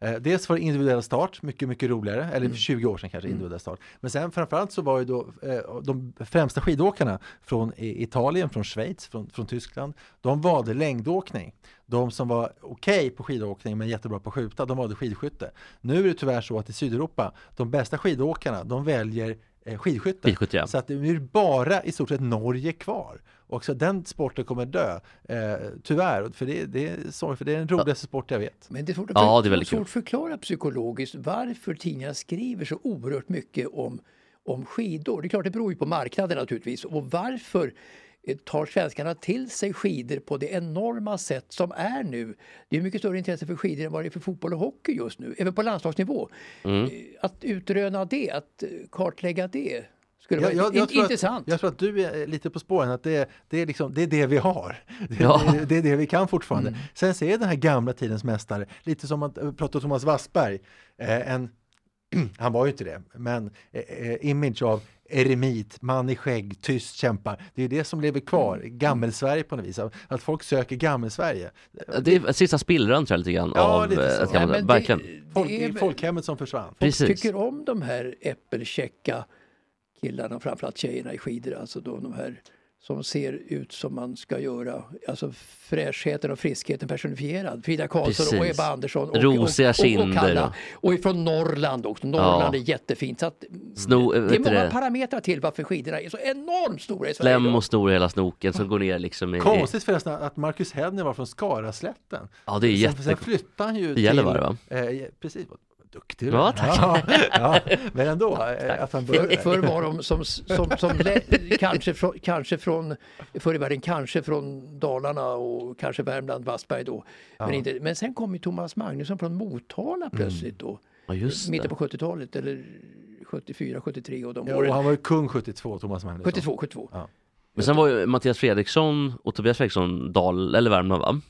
[SPEAKER 2] Eh, dels var det individuell start, mycket, mycket roligare. Eller
[SPEAKER 3] Mm.
[SPEAKER 2] för 20 år sedan kanske, individuell start. Men sen framförallt så var ju då eh, de främsta skidåkarna från i- Italien, från Schweiz, från, från Tyskland. De valde längdåkning. De som var okej på skidåkning men jättebra på att skjuta, de valde skidskytte. Nu är det tyvärr så att i Sydeuropa, de bästa skidåkarna, de väljer eh, skidskytte.
[SPEAKER 3] Skidskytte, ja.
[SPEAKER 2] Så att det är bara i stort sett Norge kvar. Och så den sporten kommer dö, eh, tyvärr. För det, det är sorry, för det är den roligaste sport jag vet.
[SPEAKER 4] Men det är svårt att,
[SPEAKER 3] Ja, det är väldigt
[SPEAKER 4] svårt
[SPEAKER 3] kul.
[SPEAKER 4] att förklara psykologiskt varför tidningarna skriver så oerhört mycket om, om skidor. Det är klart, det beror ju på marknaden naturligtvis. Och varför eh, tar svenskarna till sig skidor på det enorma sätt som är nu? Det är mycket större intresse för skidor än vad det är för fotboll och hockey just nu, även på landslagsnivå.
[SPEAKER 3] Mm.
[SPEAKER 4] Eh, Att utröna det, att eh, kartlägga det, skulle vara in-
[SPEAKER 2] tror
[SPEAKER 4] intressant.
[SPEAKER 2] Att, jag tror att du är eh, lite på spåren, att det, det, är, liksom, det är det vi har. Det,
[SPEAKER 3] Ja.
[SPEAKER 2] det, det är det vi kan fortfarande. Sen ser den här gamla tidens mästare, lite som att eh, prata om Thomas Wassberg, eh, en han var ju inte det, men eh, eh, image av eremit, man i skägg, tyst kämpar. Det är ju det som lever kvar, gammelsverige på något vis. Att folk söker gammelsverige.
[SPEAKER 3] Det är sista spillran tror jag lite grann
[SPEAKER 2] Ja,
[SPEAKER 3] av
[SPEAKER 2] lite så.
[SPEAKER 3] ett
[SPEAKER 2] Ja,
[SPEAKER 3] gammalt,
[SPEAKER 4] men det-
[SPEAKER 3] verkligen.
[SPEAKER 2] Folk,
[SPEAKER 4] det är
[SPEAKER 2] det är
[SPEAKER 4] väl-
[SPEAKER 2] folkhemmet som försvann.
[SPEAKER 3] Precis.
[SPEAKER 4] tycker om de här äppelkäcka killarna, framförallt tjejerna i skidor, alltså då de här som ser ut som man ska göra. Alltså fräschheten och friskheten personifierad. Frida Karlsson och
[SPEAKER 3] Precis.
[SPEAKER 4] Ebba Andersson och,
[SPEAKER 3] Rosiga
[SPEAKER 4] och, och, och,
[SPEAKER 3] kinder
[SPEAKER 4] Kalla. Och ifrån Norrland också.
[SPEAKER 3] Ja.
[SPEAKER 4] Norrland är jättefint. Så att
[SPEAKER 3] Sno,
[SPEAKER 4] det är
[SPEAKER 3] vet du
[SPEAKER 4] många
[SPEAKER 3] det?
[SPEAKER 4] parametrar till varför skidorna är så enormt stora i Sverige.
[SPEAKER 3] Slem
[SPEAKER 4] idag.
[SPEAKER 3] och snor i hela snoken som går ner liksom i... i-
[SPEAKER 2] Konstigt förresten att Marcus Hedner var från Skaraslätten.
[SPEAKER 3] Ja, det är
[SPEAKER 2] Sen, sen
[SPEAKER 3] jätte...
[SPEAKER 2] flyttade han ju
[SPEAKER 3] I Gällivare, va?
[SPEAKER 2] Eh, precis, vad duktig du
[SPEAKER 3] Ja,
[SPEAKER 2] är.
[SPEAKER 3] tack.
[SPEAKER 2] Ja, ja, men ändå, eh, att han började.
[SPEAKER 4] Förr var de som, som, som lä, kanske, från, kanske från, förr i världen kanske från Dalarna och kanske Värmland, Vassberg då. Men, inte, men sen kom ju Thomas Magnusson från Motala plötsligt då.
[SPEAKER 3] Ja, Mm. just
[SPEAKER 4] Mitten
[SPEAKER 3] det.
[SPEAKER 4] på 70-talet eller 74, 73 och de
[SPEAKER 2] Ja,
[SPEAKER 4] åren.
[SPEAKER 2] och han var ju kung 72, Thomas Magnusson.
[SPEAKER 4] 72, 72.
[SPEAKER 3] Men sen var ju Mattias Fredriksson och Tobias Fredriksson Dal, eller Värmland va?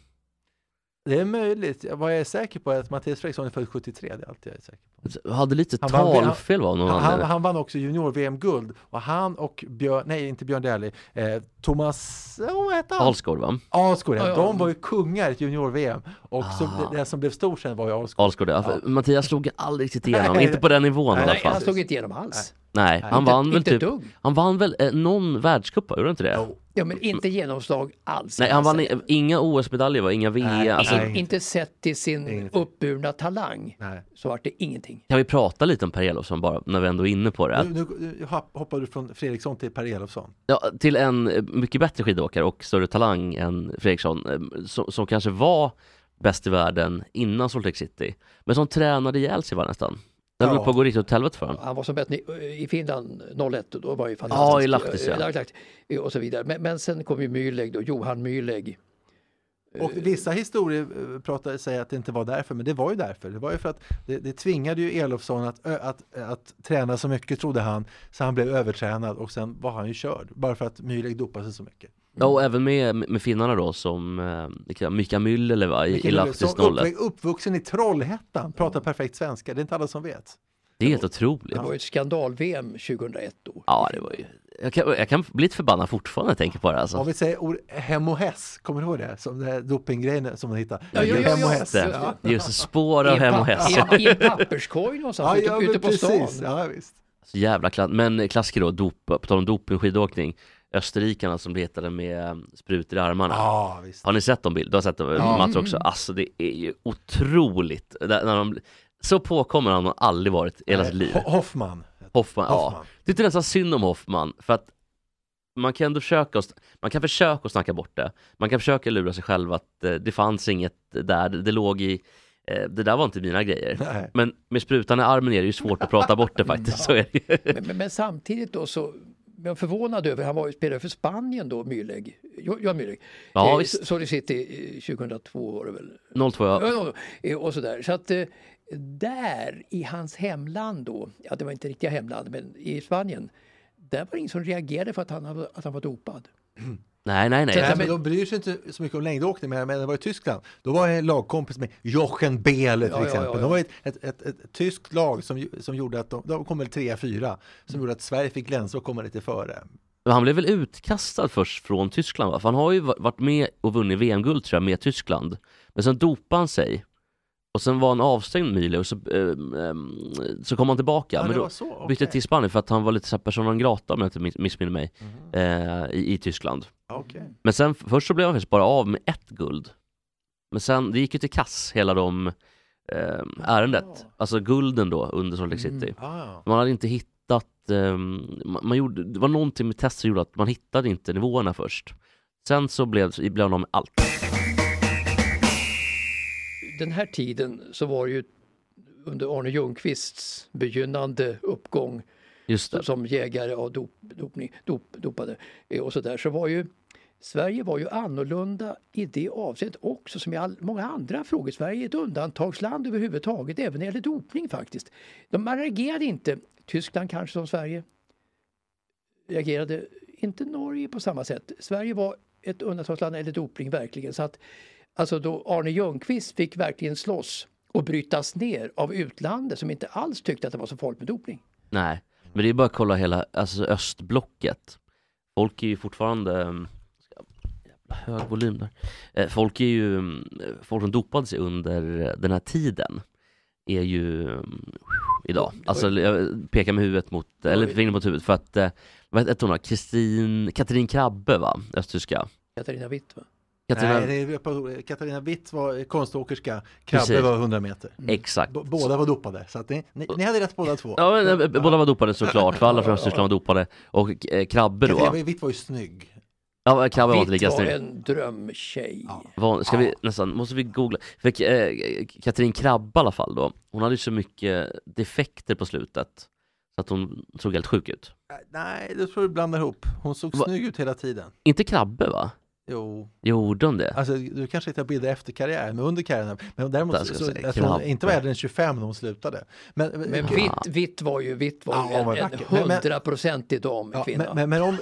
[SPEAKER 2] Det är möjligt. Vad jag är säker på är att Mattias Fredriksson är född 73, det är allt jag är säker på.
[SPEAKER 3] Hade lite
[SPEAKER 2] Han vann-
[SPEAKER 3] talfel va, av någon
[SPEAKER 2] Han, han,
[SPEAKER 3] anledning.
[SPEAKER 2] han vann också junior-VM-guld och han och Björn, nej inte Björn Dählie, eh, Thomas, oh, vad hette han?
[SPEAKER 3] Alsgaard va?
[SPEAKER 2] Alsgaard, ja,
[SPEAKER 4] Ja, ja.
[SPEAKER 2] de var ju kungar i ett junior-VM och så,
[SPEAKER 3] Ah.
[SPEAKER 2] det som blev stor sen var ju Alsgaard.
[SPEAKER 3] Alsgaard ja. För Mattias slog aldrig riktigt igenom,
[SPEAKER 2] Nej.
[SPEAKER 3] inte på den nivån i alla
[SPEAKER 4] Nej, alltså,
[SPEAKER 3] fall.
[SPEAKER 4] han slog inte igenom alls.
[SPEAKER 3] Nej, han
[SPEAKER 4] Inte-
[SPEAKER 3] vann väl
[SPEAKER 4] inte
[SPEAKER 3] typ...
[SPEAKER 4] dugg.
[SPEAKER 3] Han vann väl eh, någon världscup va? gjorde han inte det?
[SPEAKER 4] Ja, men inte genomslag alls.
[SPEAKER 3] Nej,
[SPEAKER 4] kan
[SPEAKER 3] han
[SPEAKER 4] jag
[SPEAKER 3] vann
[SPEAKER 4] säga.
[SPEAKER 3] i, inga OS-medaljer va? Inga VM?
[SPEAKER 2] Nej,
[SPEAKER 3] alltså,
[SPEAKER 2] nej.
[SPEAKER 4] Inte sett till sin
[SPEAKER 2] Ingenting.
[SPEAKER 4] uppburna talang
[SPEAKER 2] Nej.
[SPEAKER 4] så vart det ingenting.
[SPEAKER 3] Kan vi prata lite om Per Elofsson bara, när vi ändå är inne på det? Att,
[SPEAKER 2] Nu, nu nu hopp- hoppar du från Fredriksson till Per Elofsson.
[SPEAKER 3] ja, till en eh, mycket bättre skidåkare och större talang än Fredriksson, eh, som, som kanske var bäst i världen innan Salt Lake City, men som tränade ihjäl sig va, nästan. Det höll
[SPEAKER 2] Ja.
[SPEAKER 3] på att gå riktigt åt helvete för honom.
[SPEAKER 4] Han var som bäst i- i Finland 01 och då var ju
[SPEAKER 3] Ja, i
[SPEAKER 4] fantastisk.
[SPEAKER 3] Lahtis, ja.
[SPEAKER 4] Eh, Lahtis, eh, Och så vidare. Men, men sen kom ju Mühlegg då, Johan Mühlegg.
[SPEAKER 2] Och
[SPEAKER 3] Eh.
[SPEAKER 2] vissa historier eh, pratar, säger att det inte var därför, men det var ju därför. Det var ju för att det, det tvingade ju Elofsson att, ö- att, att träna så mycket, trodde han, så han blev övertränad och sen var han ju körd, bara för att Mühlegg dopade sig så mycket.
[SPEAKER 3] Ja, och även med, med finnarna då som eh, vilka- Mika Myllylä va, i, i
[SPEAKER 2] Vilken
[SPEAKER 3] Lahtis
[SPEAKER 2] Elofsson,
[SPEAKER 3] 01.
[SPEAKER 2] uppväxt- uppvuxen i Trollhättan, pratar perfekt svenska, det är inte alla som vet.
[SPEAKER 3] Det är helt otroligt.
[SPEAKER 4] Det var ju ett skandal-VM 2001 då.
[SPEAKER 3] Ja, det var ju... Jag kan, jag kan bli lite förbannad fortfarande när jag tänker på det alltså.
[SPEAKER 2] Om vi säger or- hem och häss, kommer du ihåg det? Som den här dopinggrejen som de hittade.
[SPEAKER 4] Ja, ja, ja,
[SPEAKER 2] hem och
[SPEAKER 4] ja.
[SPEAKER 2] häss.
[SPEAKER 3] Just det. Just spår av
[SPEAKER 4] I en
[SPEAKER 3] hem och
[SPEAKER 4] pa-
[SPEAKER 3] häst.
[SPEAKER 4] i en- I en papperskorg någonstans ute, ute
[SPEAKER 2] men
[SPEAKER 4] på
[SPEAKER 2] precis.
[SPEAKER 4] stan.
[SPEAKER 2] Ja, visst.
[SPEAKER 3] Så jävla klass. Men klassiker då, dop, på tal om doping och skidåkning, österrikarna som letade med eh, sprutor i armarna.
[SPEAKER 2] Ja, Mm. visst.
[SPEAKER 3] Har ni sett de bilder? Du har sett dem, Mats också? Alltså det är ju otroligt. Där, när de, så påkommer han har aldrig varit i hela sitt liv.
[SPEAKER 2] Ho- Hoffman.
[SPEAKER 3] Hoffman, ja.
[SPEAKER 2] Hoffman.
[SPEAKER 3] Det är nästan synd om Hoffman, för att man kan ändå försöka, att- man kan försöka att snacka bort det. Man kan försöka lura sig själv att eh, det fanns inget där, det, det låg i, eh, det där var inte mina grejer.
[SPEAKER 2] Nej.
[SPEAKER 3] Men med sprutan i armen är det ju svårt att prata bort det faktiskt. Så är det. ju.
[SPEAKER 4] Men, men, men samtidigt då så jag är förvånad över, han var ju spelare för Spanien då, Mühlegg. Jo- Johan Mühlegg.
[SPEAKER 3] Ja,
[SPEAKER 4] Eh,
[SPEAKER 3] visst.
[SPEAKER 4] Sorry City eh, 2002 var det väl?
[SPEAKER 3] 02, ja.
[SPEAKER 4] Ja, ja, ja, Och sådär. Så att eh, där i hans hemland då, ja det var inte riktiga hemland, men i Spanien, där var det ingen som reagerade för att han, hade- att han var dopad.
[SPEAKER 3] Nej, nej, nej.
[SPEAKER 4] Sen-
[SPEAKER 2] Nej, men Alltså, de bryr sig inte så mycket om längdåkning, men när jag var i Tyskland, då var jag en lagkompis med Jochen Behle till
[SPEAKER 4] Ja, ja,
[SPEAKER 2] exempel.
[SPEAKER 4] ja, ja.
[SPEAKER 2] De var ett, ett, ett, ett tyskt lag som, ju- som gjorde att de, de kom väl trea, fyra,
[SPEAKER 3] Mm.
[SPEAKER 2] som gjorde att Sverige fick glänsa och komma lite före.
[SPEAKER 3] Men Han blev väl utkastad först från Tyskland va? För han har ju va- varit med och vunnit VM-guld tror jag med Tyskland. Men sen dopade han sig. Och sen var han avstängd Mühle och så, ehm, ehm, så kom han tillbaka.
[SPEAKER 2] Ja,
[SPEAKER 3] men
[SPEAKER 2] det
[SPEAKER 3] då
[SPEAKER 2] var så, okej.
[SPEAKER 3] bytte till Spanien för att han var lite så här persona non grata om jag inte miss- missminner mig. Eh, i, I Tyskland.
[SPEAKER 2] Mm-hmm. Ja, okej.
[SPEAKER 3] Men sen f- först så blev han faktiskt bara av med ett guld. Men sen, det gick ju till kass hela de ehm, ärendet. Alltså gulden då under Salt Lake City.
[SPEAKER 2] Ah, ja.
[SPEAKER 3] Man hade inte hittat, ehm, man, man gjorde, det var någonting med test som gjorde att man hittade inte nivåerna först. Sen så blev, så blev de med allt.
[SPEAKER 4] Den här tiden så var det ju under Arne Ljungqvists begynnande uppgång
[SPEAKER 3] Just det.
[SPEAKER 4] som jägare och dop, dopning, dop, dopade eh, och sådär så var ju Sverige var ju annorlunda i det avseendet också som i all, många andra frågor. Sverige är ett undantagsland överhuvudtaget även när det gäller dopning faktiskt. De, man reagerade inte, Tyskland kanske som Sverige, reagerade inte Norge på samma sätt. Sverige var ett undantagsland när det gäller dopning verkligen så att alltså då Arne Ljungqvist fick verkligen slåss och brytas ner av utlandet som inte alls tyckte att det var så farligt med dopning.
[SPEAKER 3] Nej, men det är bara att kolla hela alltså östblocket. Folk är ju fortfarande, ehm, jävla hög volym där. Eh, Folk är ju, mm, folk som dopade sig under eh, den här tiden är ju mm, idag, alltså jag pekar med huvudet mot, eller fingret mot huvudet för att, eh, vad hette hon då, Kristin, Katrin Krabbe va, östtyska?
[SPEAKER 4] Katarina Witt. Va?
[SPEAKER 3] Katarina,
[SPEAKER 2] Nej, det är på- Katarina Witt var konståkerska, Krabbe
[SPEAKER 3] Precis.
[SPEAKER 2] var 100 meter.
[SPEAKER 3] exakt.
[SPEAKER 2] B- båda var dopade, så att ni, ni, ni hade rätt båda två.
[SPEAKER 3] Ja, men, eh, båda var dopade såklart, för alla från Östtyskland var dopade, och eh, Krabbe då.
[SPEAKER 2] Katarina Witt var ju snygg.
[SPEAKER 3] Ja, Krabbe var inte
[SPEAKER 4] Witt
[SPEAKER 3] lika
[SPEAKER 4] var
[SPEAKER 3] snygg.
[SPEAKER 4] en drömtjej.
[SPEAKER 3] Van, ska vi nästan, måste vi googla? För, eh, Katrin Krabbe i alla fall då, hon hade ju så mycket defekter på slutet så att hon såg helt sjuk ut.
[SPEAKER 2] Äh, Nej, det tror jag du blandar ihop. Hon såg
[SPEAKER 3] Va-
[SPEAKER 2] snygg ut hela tiden.
[SPEAKER 3] Inte Krabbe va?
[SPEAKER 2] Jo,
[SPEAKER 3] Gjorde hon det?
[SPEAKER 2] alltså du kanske inte har bilder efter karriären, men under karriären. Men däremot
[SPEAKER 3] Där
[SPEAKER 2] så,
[SPEAKER 3] ska
[SPEAKER 2] så
[SPEAKER 3] jag säga,
[SPEAKER 2] jag tror hon
[SPEAKER 3] Krabbe.
[SPEAKER 2] inte var äldre än 25 när hon slutade. Men,
[SPEAKER 4] Men Witt, Witt var ju, Witt var ju
[SPEAKER 2] Ja, hon var
[SPEAKER 4] en, en
[SPEAKER 2] vacker. Men- men-
[SPEAKER 4] hundraprocentig
[SPEAKER 2] ja,
[SPEAKER 4] damkvinna.
[SPEAKER 2] men, men, men om...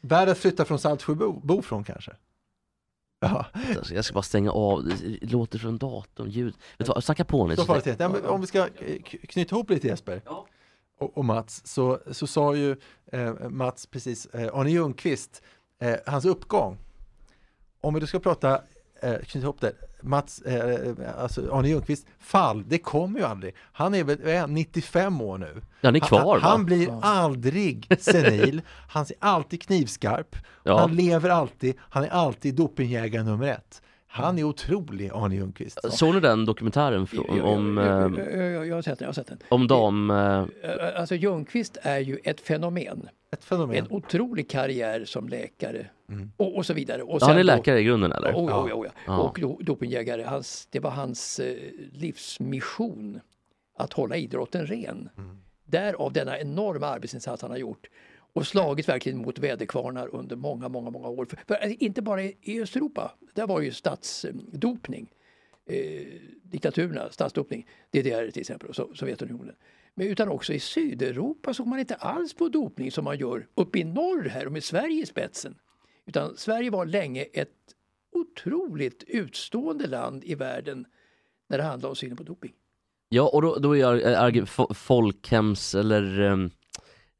[SPEAKER 2] Världen flyttar från Saltsjöbo bo från kanske? Ja,
[SPEAKER 3] Alltså, jag ska bara stänga av, det låter från datorn, ljud. Vet du vad, snacka på nu.
[SPEAKER 2] så
[SPEAKER 3] Så-
[SPEAKER 2] farligt är det. Ja, men om vi ska eh, k- knyta ihop lite Jesper och, och Mats, så, så sa ju eh, Mats precis, eh, Arne Ljungqvist, eh, hans uppgång. Om vi då ska prata, eh, knyta ihop det, Mats, eh, alltså Arne Ljungqvist, fall, det kommer ju aldrig. Han är väl eh, 95 år nu.
[SPEAKER 3] Ja, han är kvar,
[SPEAKER 2] han,
[SPEAKER 3] va?
[SPEAKER 2] han blir aldrig senil, han ser alltid knivskarp,
[SPEAKER 3] Ja.
[SPEAKER 2] han lever alltid, han är alltid dopingjägare nummer ett.
[SPEAKER 3] Mm.
[SPEAKER 2] Han är otrolig, Arne Ljungqvist.
[SPEAKER 3] Såg ni den dokumentären från, om,
[SPEAKER 4] jag,
[SPEAKER 3] eh,
[SPEAKER 4] jag, jag, jag, jag har sett den, jag har sett den.
[SPEAKER 3] om dam... eh,
[SPEAKER 4] Eh, Alltså Ljungqvist är ju ett fenomen.
[SPEAKER 2] Ett fenomen.
[SPEAKER 4] En otrolig karriär som läkare
[SPEAKER 2] Mm.
[SPEAKER 4] och, och så vidare. Och
[SPEAKER 3] Han är
[SPEAKER 4] sen då-
[SPEAKER 3] läkare i grunden eller?
[SPEAKER 4] Oh, ja, oh, ja.
[SPEAKER 3] Ja.
[SPEAKER 4] Och do, dopingjägare, hans, det var hans eh, livsmission att hålla idrotten ren.
[SPEAKER 3] Mm.
[SPEAKER 4] Därav denna enorma arbetsinsats han har gjort och slagit verkligen mot väderkvarnar under många, många, många år. För, för alltså, inte bara i i Östeuropa, där var ju statsdopning, eh, diktaturerna, statsdopning, DDR till exempel och so- Sovjetunionen. Men utan också i Sydeuropa såg man inte alls på dopning som man gör uppe i norr här och med Sverige i spetsen. Utan Sverige var länge ett otroligt utstående land i världen när det handlar om synen på doping.
[SPEAKER 3] Ja, och då, då är jag eh, arg- fo- folkhems eller ehm,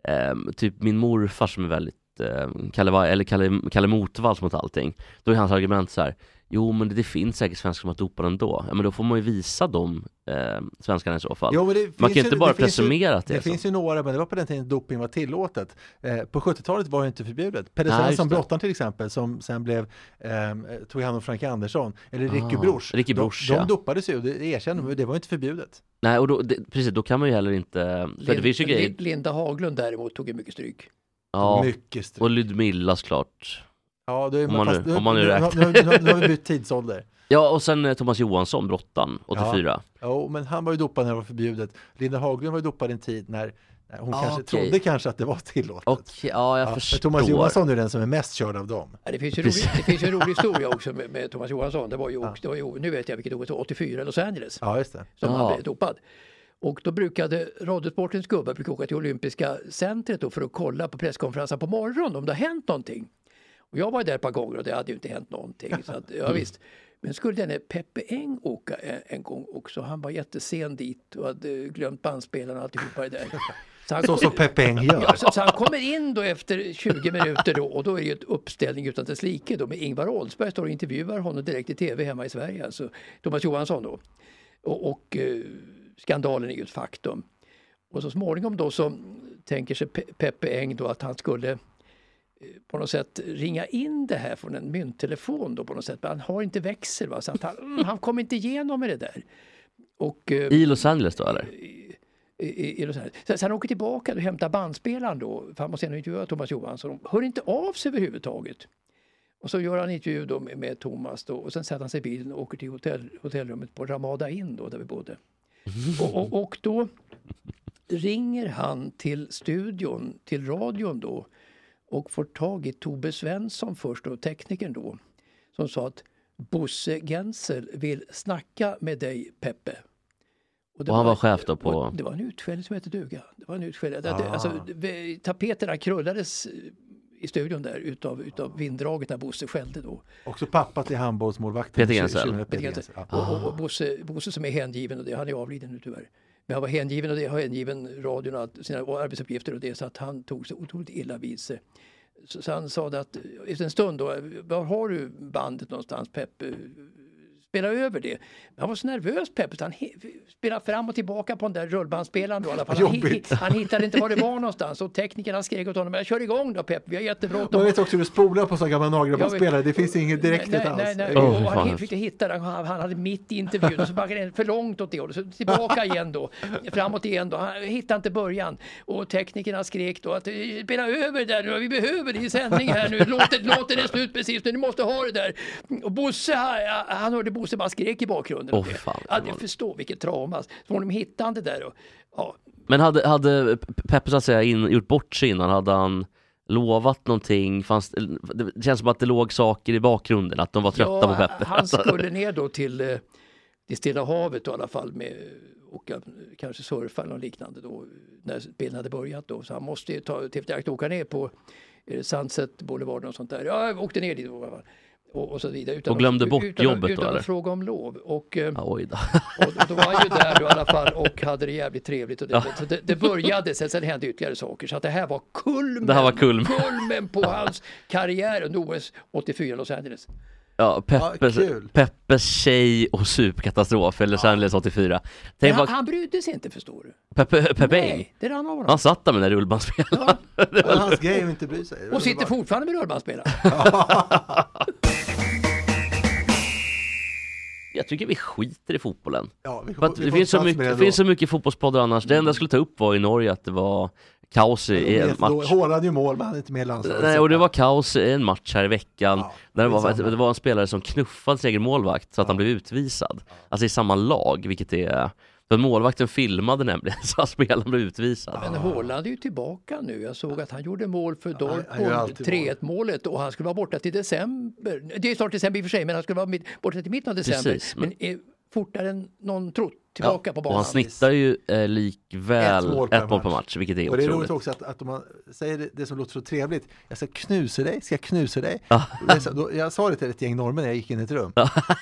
[SPEAKER 3] ehm, typ min morfar som är väldigt um, Kalle, Va- eller Kalle, Kalle Motvalls mot allting. Då är hans argument så här, jo men det, det finns säkert svenskar som har dopat ändå. Ja men då får man ju visa dem ehm, svenskarna i så fall.
[SPEAKER 2] Jo, men det
[SPEAKER 3] man
[SPEAKER 2] finns
[SPEAKER 3] kan inte bara
[SPEAKER 2] det finns
[SPEAKER 3] presumera
[SPEAKER 2] ju,
[SPEAKER 3] att det, är
[SPEAKER 2] Det finns
[SPEAKER 3] så.
[SPEAKER 2] ju några, men det var på den tiden doping var tillåtet. Eh, på 70-talet var det inte förbjudet. Peder
[SPEAKER 3] Nej,
[SPEAKER 2] Svensson,
[SPEAKER 3] just det.
[SPEAKER 2] Blottan till exempel, som sen blev, ehm, eh, tog hand om Frankie Andersson, eller Ricky
[SPEAKER 3] Ah,
[SPEAKER 2] Bruch.
[SPEAKER 3] Ricky Bruch,
[SPEAKER 2] de,
[SPEAKER 3] ja.
[SPEAKER 2] de dopades ju, och det erkände de, det var inte förbjudet.
[SPEAKER 3] Nej och då, det, precis, då kan man ju heller inte, för det
[SPEAKER 4] Lin-
[SPEAKER 3] finns ju grejer,
[SPEAKER 4] Lin- Linda Haglund däremot tog ju mycket stryk.
[SPEAKER 3] ja,
[SPEAKER 2] Mycket stryk.
[SPEAKER 3] och Ludmilla såklart.
[SPEAKER 2] Ja, då är
[SPEAKER 3] om man nu-
[SPEAKER 2] fast-
[SPEAKER 3] om man nu
[SPEAKER 2] nu, nu,
[SPEAKER 3] räknar.
[SPEAKER 2] nu, nu, nu har vi bytt tidsålder.
[SPEAKER 3] Ja och sen eh, Thomas Johansson, brottan, 84.
[SPEAKER 2] Jo, men han var ju dopad när det var förbjudet. Linda Haglund var ju dopad i en tid när när hon
[SPEAKER 3] Ah,
[SPEAKER 2] kanske
[SPEAKER 3] okej.
[SPEAKER 2] trodde kanske att det var tillåtet.
[SPEAKER 3] Okej, ja jag
[SPEAKER 2] Ja,
[SPEAKER 3] förstår.
[SPEAKER 2] men Thomas Johansson är den som är mest körd av dem.
[SPEAKER 4] Ja, Det finns ju,
[SPEAKER 3] Precis.
[SPEAKER 4] rolig, det finns ju en rolig historia också med, med Thomas Johansson. Det var ju, det var ju, nu vet jag vilket år, det var, 84 Los Angeles
[SPEAKER 2] Ja, just det.
[SPEAKER 4] som
[SPEAKER 3] Ja.
[SPEAKER 4] han blev dopad. Och då brukade Radiosportens gubbar brukade åka till Olympiska centret då för att kolla på presskonferensen på morgonen om det har hänt någonting. Och jag var där ett par gånger och det hade ju inte hänt någonting. Så att, ja, visst. Men skulle denne Peppe Eng åka en, en gång också. Han var jättesen dit och hade glömt bandspelarna och alltihopa det där. Så han,
[SPEAKER 2] Så som Peppe Eng gör.
[SPEAKER 4] Ja, så, så han kommer in då efter 20 minuter då, och då är det ju ett uppställning utan dess like då med Ingvar Oldsberg står och intervjuar honom direkt i tv hemma i Sverige, alltså Thomas Johansson då. Och, och eh, skandalen är ju ett faktum. Och så småningom då så tänker sig Pe- Peppe Eng då att han skulle eh, på något sätt ringa in det här från en mynttelefon då på något sätt. Men han har inte växel va, så att han, mm, han kom inte igenom med det där. Och, eh,
[SPEAKER 3] I Los Angeles då eller?
[SPEAKER 4] i- i, i Los Angeles. Så, så han åker tillbaka och hämtar bandspelaren då, för han måste ändå intervjua Thomas Johansson. De hör inte av sig överhuvudtaget. Och så gör han intervju då med, med Thomas då, och sen sätter han sig i bilen och åker till hotell, hotellrummet på Ramada Inn då, där vi bodde. Och, och, och då ringer han till studion, till radion då och får tag i Tobbe Svensson först, då, teknikern då, som sa att Bosse Gensel vill snacka med dig Peppe. det
[SPEAKER 3] Och han var chef då på- Ah.
[SPEAKER 4] och Det var en utskällning som hette duga. Det var en utskällning. Att- att- Alltså, vi- tapeterna krullades eh, i studion där utav, utav vinddraget när Bosse skällde då.
[SPEAKER 2] Också pappa till handbollsmålvakten.
[SPEAKER 3] Peter Gensel.
[SPEAKER 2] Tjugo- tjugo-
[SPEAKER 4] Peter
[SPEAKER 2] Peter Gensel.
[SPEAKER 4] Gensel.
[SPEAKER 2] Ja.
[SPEAKER 4] Och, och, och Bosse, Bosse som är hängiven, och det, han är avliden nu tyvärr. Men han var hängiven och det har hängiven radion och allt, sina arbetsuppgifter och det så att han tog så otroligt illa vid sig. Så, så han sa det att efter en stund då, var har du bandet någonstans Peppe? Spela över det. Men han var så nervös Peppe så han he- spelade fram och tillbaka på den där rullbandspelaren då i alla fall. Han, hi-
[SPEAKER 2] Jobbigt.
[SPEAKER 4] han hittade inte var det var någonstans och teknikerna skrek åt honom, men kör igång då Peppe, vi har jättebråttom.
[SPEAKER 2] Man vet också hur du spolar på sådana gamla
[SPEAKER 4] Jag
[SPEAKER 2] nagelbandspelare.
[SPEAKER 4] vet-
[SPEAKER 2] Det finns inget direkt
[SPEAKER 4] nej,
[SPEAKER 2] alls.
[SPEAKER 4] Nej, nej.
[SPEAKER 3] Åh,
[SPEAKER 4] Och
[SPEAKER 3] fy
[SPEAKER 4] han
[SPEAKER 3] fan.
[SPEAKER 4] fick hitta det. Han, han hade mitt i intervjun och så backade den för långt åt det hållet. Så tillbaka igen då. Framåt igen då. Han hittade inte början. Och teknikerna skrek då att "Eh, spela över där nu. Vi behöver det i sändning här nu. Låten, låten är slut precis nu. Ni måste ha det där. Och Bosse, han, han hörde Bosse bara skrek i bakgrunden.
[SPEAKER 3] Åh,
[SPEAKER 4] åt det.
[SPEAKER 3] fy fan.
[SPEAKER 4] ja, jag förstår vilket trauma. Så småningom hittade han det där. Och, ja,
[SPEAKER 3] Men hade, hade Pe- Peppe så att säga in, gjort bort sig innan? Hade han lovat någonting? Fanns, det känns som att det låg saker i bakgrunden, att de var trötta på Peppe. Alltså,
[SPEAKER 4] Han skulle ner då till eh, det Stilla havet då, i alla fall med och kanske surfa eller något liknande då när spelen hade börjat då. Så han måste ju ta tv direkt och åka ner på eh, Sunset Boulevard och sånt där. Ja, jag åkte ner dit då, i alla fall. och, och så vidare. Utan
[SPEAKER 3] Och glömde bort
[SPEAKER 4] utan,
[SPEAKER 3] jobbet då,
[SPEAKER 4] Utan
[SPEAKER 3] eller?
[SPEAKER 4] att fråga om lov. Och, eh,
[SPEAKER 3] Ja, oj då.
[SPEAKER 4] och, och då var han ju där då, i alla fall och hade det jävligt trevligt. Och det, så det, det började, sen, sen hände ytterligare saker. Så att det här var kulmen,
[SPEAKER 3] Det här var kulmen.
[SPEAKER 4] kulmen på hans karriär under OS 84 Los Angeles.
[SPEAKER 3] Ja, Peppes,
[SPEAKER 2] Ja, kul.
[SPEAKER 3] Peppes tjej och superkatastrof, eller Los Angeles 84.
[SPEAKER 4] Men
[SPEAKER 3] Tänk
[SPEAKER 4] han,
[SPEAKER 3] vad
[SPEAKER 4] han brydde sig inte förstår du.
[SPEAKER 3] Peppe, Peppe Eng,
[SPEAKER 4] Nej, det rann av honom.
[SPEAKER 3] han satt där med den där rullbandspelaren.
[SPEAKER 2] Det var hans grej att inte bry sig.
[SPEAKER 4] Och sitter fortfarande med rullbandspelare.
[SPEAKER 3] Jag tycker vi skiter i fotbollen.
[SPEAKER 2] Ja, vi
[SPEAKER 3] För att
[SPEAKER 2] får- vi
[SPEAKER 3] det
[SPEAKER 2] får
[SPEAKER 3] finns så,
[SPEAKER 2] plats med
[SPEAKER 3] mycket,
[SPEAKER 2] det
[SPEAKER 3] det finns
[SPEAKER 2] då.
[SPEAKER 3] så mycket fotbollspoddar annars. Det enda jag skulle ta upp var i Norge att det var kaos i, i en
[SPEAKER 2] Då
[SPEAKER 3] match.
[SPEAKER 2] Hårade ju mål, men han är inte med i landslaget.
[SPEAKER 3] Nej, och det var kaos i en match här i veckan.
[SPEAKER 2] Alltså, Ja,
[SPEAKER 3] där det, var,
[SPEAKER 2] samma.
[SPEAKER 3] det var en spelare som knuffade sin egen målvakt så att han blev utvisad. Alltså i samma lag, vilket är... För målvakten filmade nämligen så att spelaren blev utvisad.
[SPEAKER 4] Men Haaland är ju tillbaka nu. Jag såg att han gjorde mål för
[SPEAKER 2] han gör
[SPEAKER 4] Dortmund,
[SPEAKER 2] alltid
[SPEAKER 4] 3-1 målet och han skulle vara borta till december. Det är snart december i och för sig, men han skulle vara mitt, borta till mitten av december.
[SPEAKER 3] Precis, men-
[SPEAKER 4] men är fortare än någon trott tillbaka på
[SPEAKER 3] och
[SPEAKER 4] banan.
[SPEAKER 3] han snittar ju eh, likväl
[SPEAKER 2] Ett
[SPEAKER 3] ett
[SPEAKER 2] mål
[SPEAKER 3] mål,
[SPEAKER 2] per
[SPEAKER 3] per
[SPEAKER 2] match,
[SPEAKER 3] match, vilket är
[SPEAKER 2] Och det är
[SPEAKER 3] otroligt.
[SPEAKER 2] roligt också att, att om man säger det, det som låter så trevligt, jag ska knusa dig, ska jag knusa dig? Och det är så- då, jag sa det till ett gäng norrmän när jag gick in i ett rum.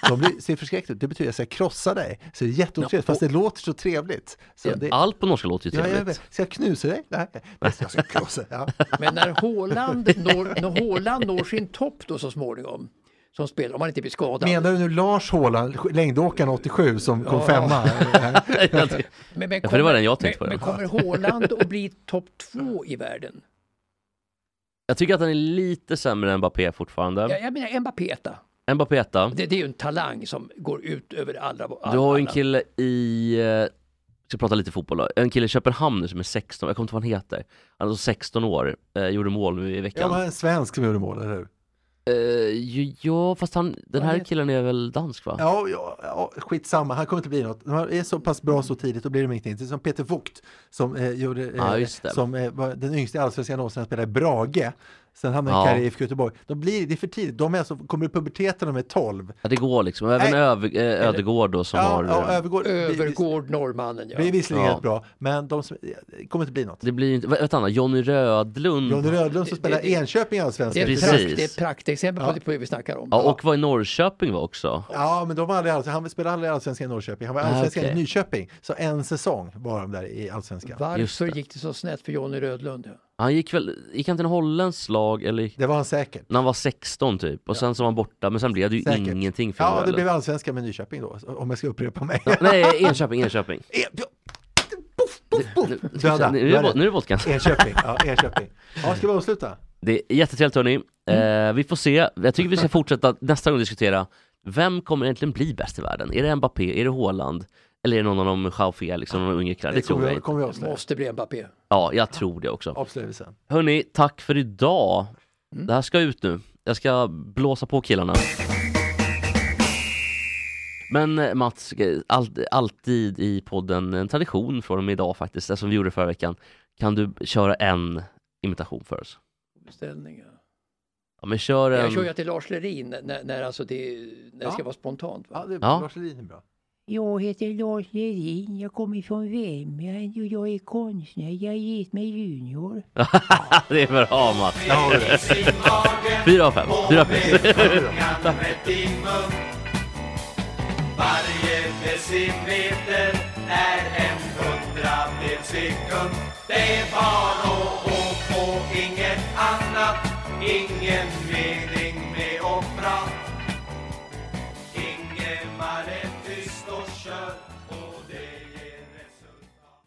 [SPEAKER 2] De blir, ser förskräckta ut, det betyder jag ska krossa dig. Så det är jätteotrevligt, fast det låter så trevligt. Så det,
[SPEAKER 3] Allt på norska låter ju
[SPEAKER 2] ja, jag
[SPEAKER 3] trevligt.
[SPEAKER 2] vet. ska jag knusa dig? Nej, jag ska krossa dig. Ja.
[SPEAKER 4] Men när Haaland når, när Haaland når sin topp då så småningom, som spelare, om han inte blir skadad.
[SPEAKER 2] Menar du nu Lars Haaland, längdåkaren 87 som kom femma?
[SPEAKER 4] Men, men
[SPEAKER 3] Ja, för det var den jag tänkte på,
[SPEAKER 4] men, men
[SPEAKER 3] ja.
[SPEAKER 4] kommer Haaland att bli topp två i världen?
[SPEAKER 3] jag tycker att han är lite sämre än Mbappé fortfarande.
[SPEAKER 4] Jag, jag menar Mbappé etta.
[SPEAKER 3] Mbappé etta.
[SPEAKER 4] Det, det är ju en talang som går ut över alla. alla
[SPEAKER 3] Du har ju en kille i, eh, ska prata lite fotboll då, en kille i Köpenhamn nu som är 16, jag kommer inte ihåg vad han heter. Han är alltså 16 år, eh, gjorde mål nu i
[SPEAKER 2] Ja,
[SPEAKER 3] veckan.
[SPEAKER 2] men en svensk som gjorde mål, eller hur?
[SPEAKER 3] Eh, ju- ja fast han, den här
[SPEAKER 4] heter-
[SPEAKER 3] killen är väl dansk va?
[SPEAKER 2] Ja, ja, ja, skitsamma, han kommer inte bli något. Han är så pass bra så tidigt, då blir det ingenting. Det är som Peter Vogt som, eh, gjorde, eh,
[SPEAKER 3] Ja, just det.
[SPEAKER 2] som eh, var den yngsta i allsvenskan någonsin, han spelade i Brage. Sen hamnade han
[SPEAKER 3] Ja.
[SPEAKER 2] i IFK Göteborg. De blir, det är för tidigt, de är alltså, kommer i puberteten när de är 12.
[SPEAKER 3] Ja, det går liksom, även
[SPEAKER 2] Nej.
[SPEAKER 3] Öv, eh, Ödegård då som har, eh,
[SPEAKER 2] övergår.
[SPEAKER 4] Övergård norrmannen,
[SPEAKER 2] Det är
[SPEAKER 4] ja.
[SPEAKER 2] visserligen
[SPEAKER 3] Ja.
[SPEAKER 2] helt bra, men de som, det kommer inte bli något.
[SPEAKER 3] det blir ju inte, vad heter han då? Jonny Rödlund?
[SPEAKER 2] Johnny Rödlund som
[SPEAKER 4] Det-
[SPEAKER 2] spelar
[SPEAKER 4] det-
[SPEAKER 2] Enköping i
[SPEAKER 4] Det är,
[SPEAKER 2] allsvenskan.
[SPEAKER 4] ett
[SPEAKER 3] Precis.
[SPEAKER 4] prakt, det är ett praktexempel på, det- på det vi snackar om.
[SPEAKER 3] Ja, och var i Norrköping var också.
[SPEAKER 2] Ja, men de var aldrig allsvenskan. Han spelade aldrig allsvenskan i Norrköping. Han var i
[SPEAKER 3] Ah,
[SPEAKER 2] allsvenskan i
[SPEAKER 3] okej.
[SPEAKER 2] Nyköping. Så en säsong var de där i allsvenskan.
[SPEAKER 3] Just
[SPEAKER 4] Varför
[SPEAKER 3] det.
[SPEAKER 4] gick det så snett för Johnny Rödlund?
[SPEAKER 3] Han gick väl, gick han till en holländsk lag eller?
[SPEAKER 2] Det var han säkert.
[SPEAKER 3] När han var 16 typ, och sen så var han borta, men sen blev det ju
[SPEAKER 2] Säkert.
[SPEAKER 3] ingenting för
[SPEAKER 2] Ja,
[SPEAKER 3] honom.
[SPEAKER 2] det
[SPEAKER 3] eller?
[SPEAKER 2] blev allsvenskan med Nyköping då, om jag ska upprepa mig.
[SPEAKER 3] Nej, Enköping, Enköping.
[SPEAKER 2] Puff, puff, puff. Döda.
[SPEAKER 3] Nu är det,
[SPEAKER 2] Döda.
[SPEAKER 3] bo- nu är det vodkan.
[SPEAKER 2] Enköping, ja, Enköping. Ja, ska vi avsluta?
[SPEAKER 3] Det är jättetrevligt hörni. Eh, vi får se. Jag tycker vi ska fortsätta nästa gång diskutera vem kommer egentligen bli bäst i världen? Är det Mbappé? Är det Haaland? Eller är det någon av de Jao Felix och de unga killarna? Det tror
[SPEAKER 2] kommer
[SPEAKER 3] jag
[SPEAKER 2] vi,
[SPEAKER 3] inte.
[SPEAKER 2] kommer vi
[SPEAKER 4] Det
[SPEAKER 2] avslöja.
[SPEAKER 4] måste bli Mbappé.
[SPEAKER 3] Ja, jag tror det också.
[SPEAKER 2] Avslöjar vi sen.
[SPEAKER 3] Hörni, tack för idag. Det här ska ut nu. Jag ska blåsa på killarna. Men eh, Mats, eh, all, alltid i podden en tradition från och med idag faktiskt, det som vi gjorde förra veckan. Kan du köra en imitation för oss? Ehm.
[SPEAKER 4] Beställningar.
[SPEAKER 3] Ja, men kör en...
[SPEAKER 4] Jag kör ju till Lars Lerin när, när, alltså det, när det ska
[SPEAKER 2] Ja.
[SPEAKER 4] vara spontant. Va?
[SPEAKER 2] Ja, det,
[SPEAKER 3] Ja.
[SPEAKER 2] Lars Lerin är bra.
[SPEAKER 8] Jag heter Lars Lerin, jag kommer från Värmland och jag är konstnär. Jag är gift med Junior.
[SPEAKER 3] det är bra Mats! Fyra av fem, fyra plus.
[SPEAKER 5] Varje decimeter är en hundradels sekund. Det är bara att gå på inget annat. Ingen mening med att prata. Ingemar är tyst och kör och det ger resultat.